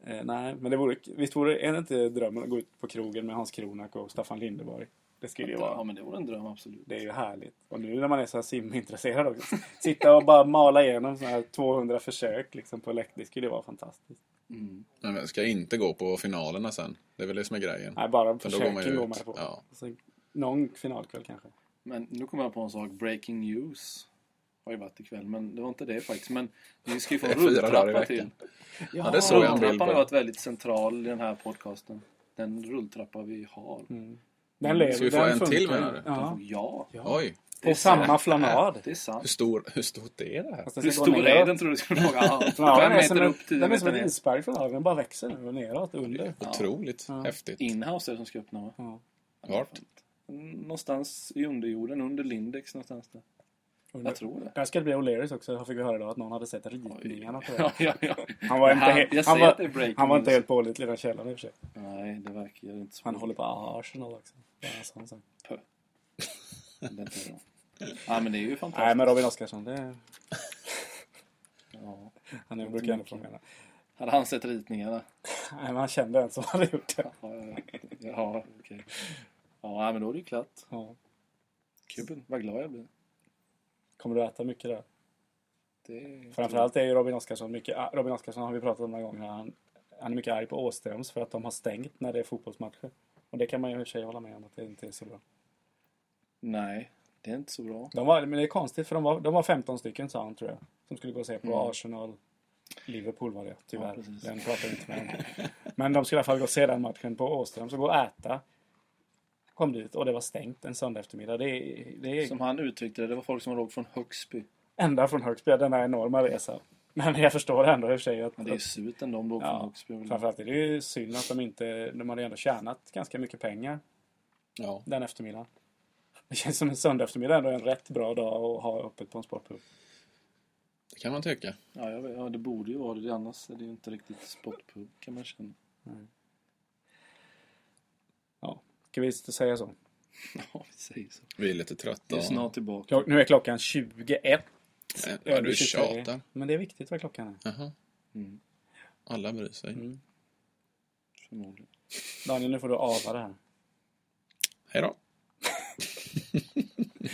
S1: Eh, nej, men det vore, visst vore är det inte drömmen att gå ut på krogen med Hans Kronak och Staffan Lindeborg? Det skulle ju
S4: Ja,
S1: vara...
S4: men det vore en dröm absolut.
S1: Det är ju härligt. Och nu när man är så här simintresserad också. Sitta och bara mala igenom så här 200 försök liksom på läkt. Det skulle ju vara fantastiskt.
S3: Nej, men ska jag inte gå på finalerna sen? Det är väl det som är grejen.
S1: Nej, bara
S3: För då går man ju
S1: försöken går
S3: ut.
S1: man ju på.
S3: Ja.
S1: Så, någon finalkväll kanske.
S4: Men nu kommer jag på en sak. Breaking news. Har ju varit ikväll, men det var inte det faktiskt. Men vi ska ju få
S3: Det är
S4: en
S3: fyra dagar i
S4: rulltrappa till.
S3: veckan. Ja, det såg jag en bild
S4: Rulltrappan har
S3: på.
S4: varit väldigt central i den här podcasten. Den rulltrappa vi har.
S1: Mm. Den lever.
S3: Ska Mm, vi få
S1: den
S3: en
S1: funkar
S3: till
S1: ju.
S3: menar du?
S1: Ja.
S4: Ja,
S3: Oj,
S1: På samma flanad.
S4: det är sant.
S3: hur, stor, hur stort är det här?
S1: Fast den
S4: Hur
S1: ska gå
S4: stor är
S1: neråt.
S4: den tror du skulle fråga? Ja,
S1: Ja,
S4: fem
S1: den är
S4: meter
S1: som en,
S4: upp, tio
S1: den är som
S4: meter
S1: en
S4: ner.
S1: isberg från havet. Den bara växer nu och neråt under.
S3: Otroligt häftigt.
S4: Inhouse är det som ska öppna va?
S3: Vart?
S4: Någonstans i underjorden, under Lindex någonstans där. Jag tror det.
S1: Där ska det bli O'Learys också, fick vi höra idag, att någon hade sett ritningarna på det.
S4: Ja, ja, ja.
S1: Han var
S4: Men
S1: inte,
S4: han-
S1: helt-
S4: jag
S1: han
S4: säger
S1: var,
S4: att det är breaking
S1: han var inte
S4: news.
S1: helt pålitlig den källan i och för sig.
S4: Nej, det verkar ju inte så.
S1: Han håller på Arsenal också. Det är en sån sak.
S4: Den är bra. Ja, men det är ju fantastiskt.
S1: Nej, men Robin Oskarsson, det är,
S4: Ja.
S1: han är, brukar jag ändå promena.
S4: Hade han sett ritningarna?
S1: Nej, men han kände en som hade gjort det.
S4: Ja, ja, ja. ja okej. Ja, men då är det ju klart.
S1: Ja.
S4: Kuben, vad glad jag blir.
S1: Kommer du äta mycket där?
S4: Det är...
S1: Framförallt är ju Robin Oskarsson mycket... ah, Robin Oskarsson har vi pratat om några gånger. Han, han är mycket arg på Åströms för att de har stängt när det är fotbollsmatcher. Och det kan man ju i och för sig hålla med om att det inte är så bra.
S4: Nej, det är inte så bra.
S1: De var, men det är konstigt för de var, de var 15 stycken sa han tror jag. Som skulle gå och se på Arsenal. Liverpool var det tyvärr.
S4: Mm. Ja, precis.
S1: den pratade inte med honom. Men de skulle i alla fall gå och se den matchen på Åström. Så gå och äta. Kom dit och det var stängt en söndag eftermiddag. Det, är- det är...
S4: Som han uttryckte det, det var folk som låg från Högsby.
S1: Ända från Högsby, denna enorma resa. Men jag förstår ändå i och för sig att...
S4: Men det är ju surt ändå om du åker
S1: Ja.
S4: från Högsby. eller-
S1: Framförallt är det ju synd att de inte... De hade ju ändå tjänat ganska mycket pengar
S3: Ja.
S1: den eftermiddagen. Det känns som en söndag eftermiddag ändå är en rätt bra dag att ha öppet på en sportpub.
S3: Det kan man tycka.
S4: Ja, jag vet, ja, det borde ju vara det. Annars är det ju inte riktigt sportpub kan man känna.
S1: Ska vi säga så?
S4: Ja, vi säger så.
S3: Vi är lite trötta.
S4: Vi är
S3: och-
S4: snart tillbaka.
S1: Klock, nu är klockan 21.
S3: Eh, Ja, du
S1: över 23.
S3: tjatar.
S1: Men det är viktigt vad klockan är.
S3: Jaha.
S4: Mm.
S3: Alla bryr sig.
S1: Mm.
S4: Förmodligen.
S1: Daniel, nu får du ava det här.
S3: Hej då.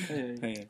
S4: Hej, hej.
S1: Hej.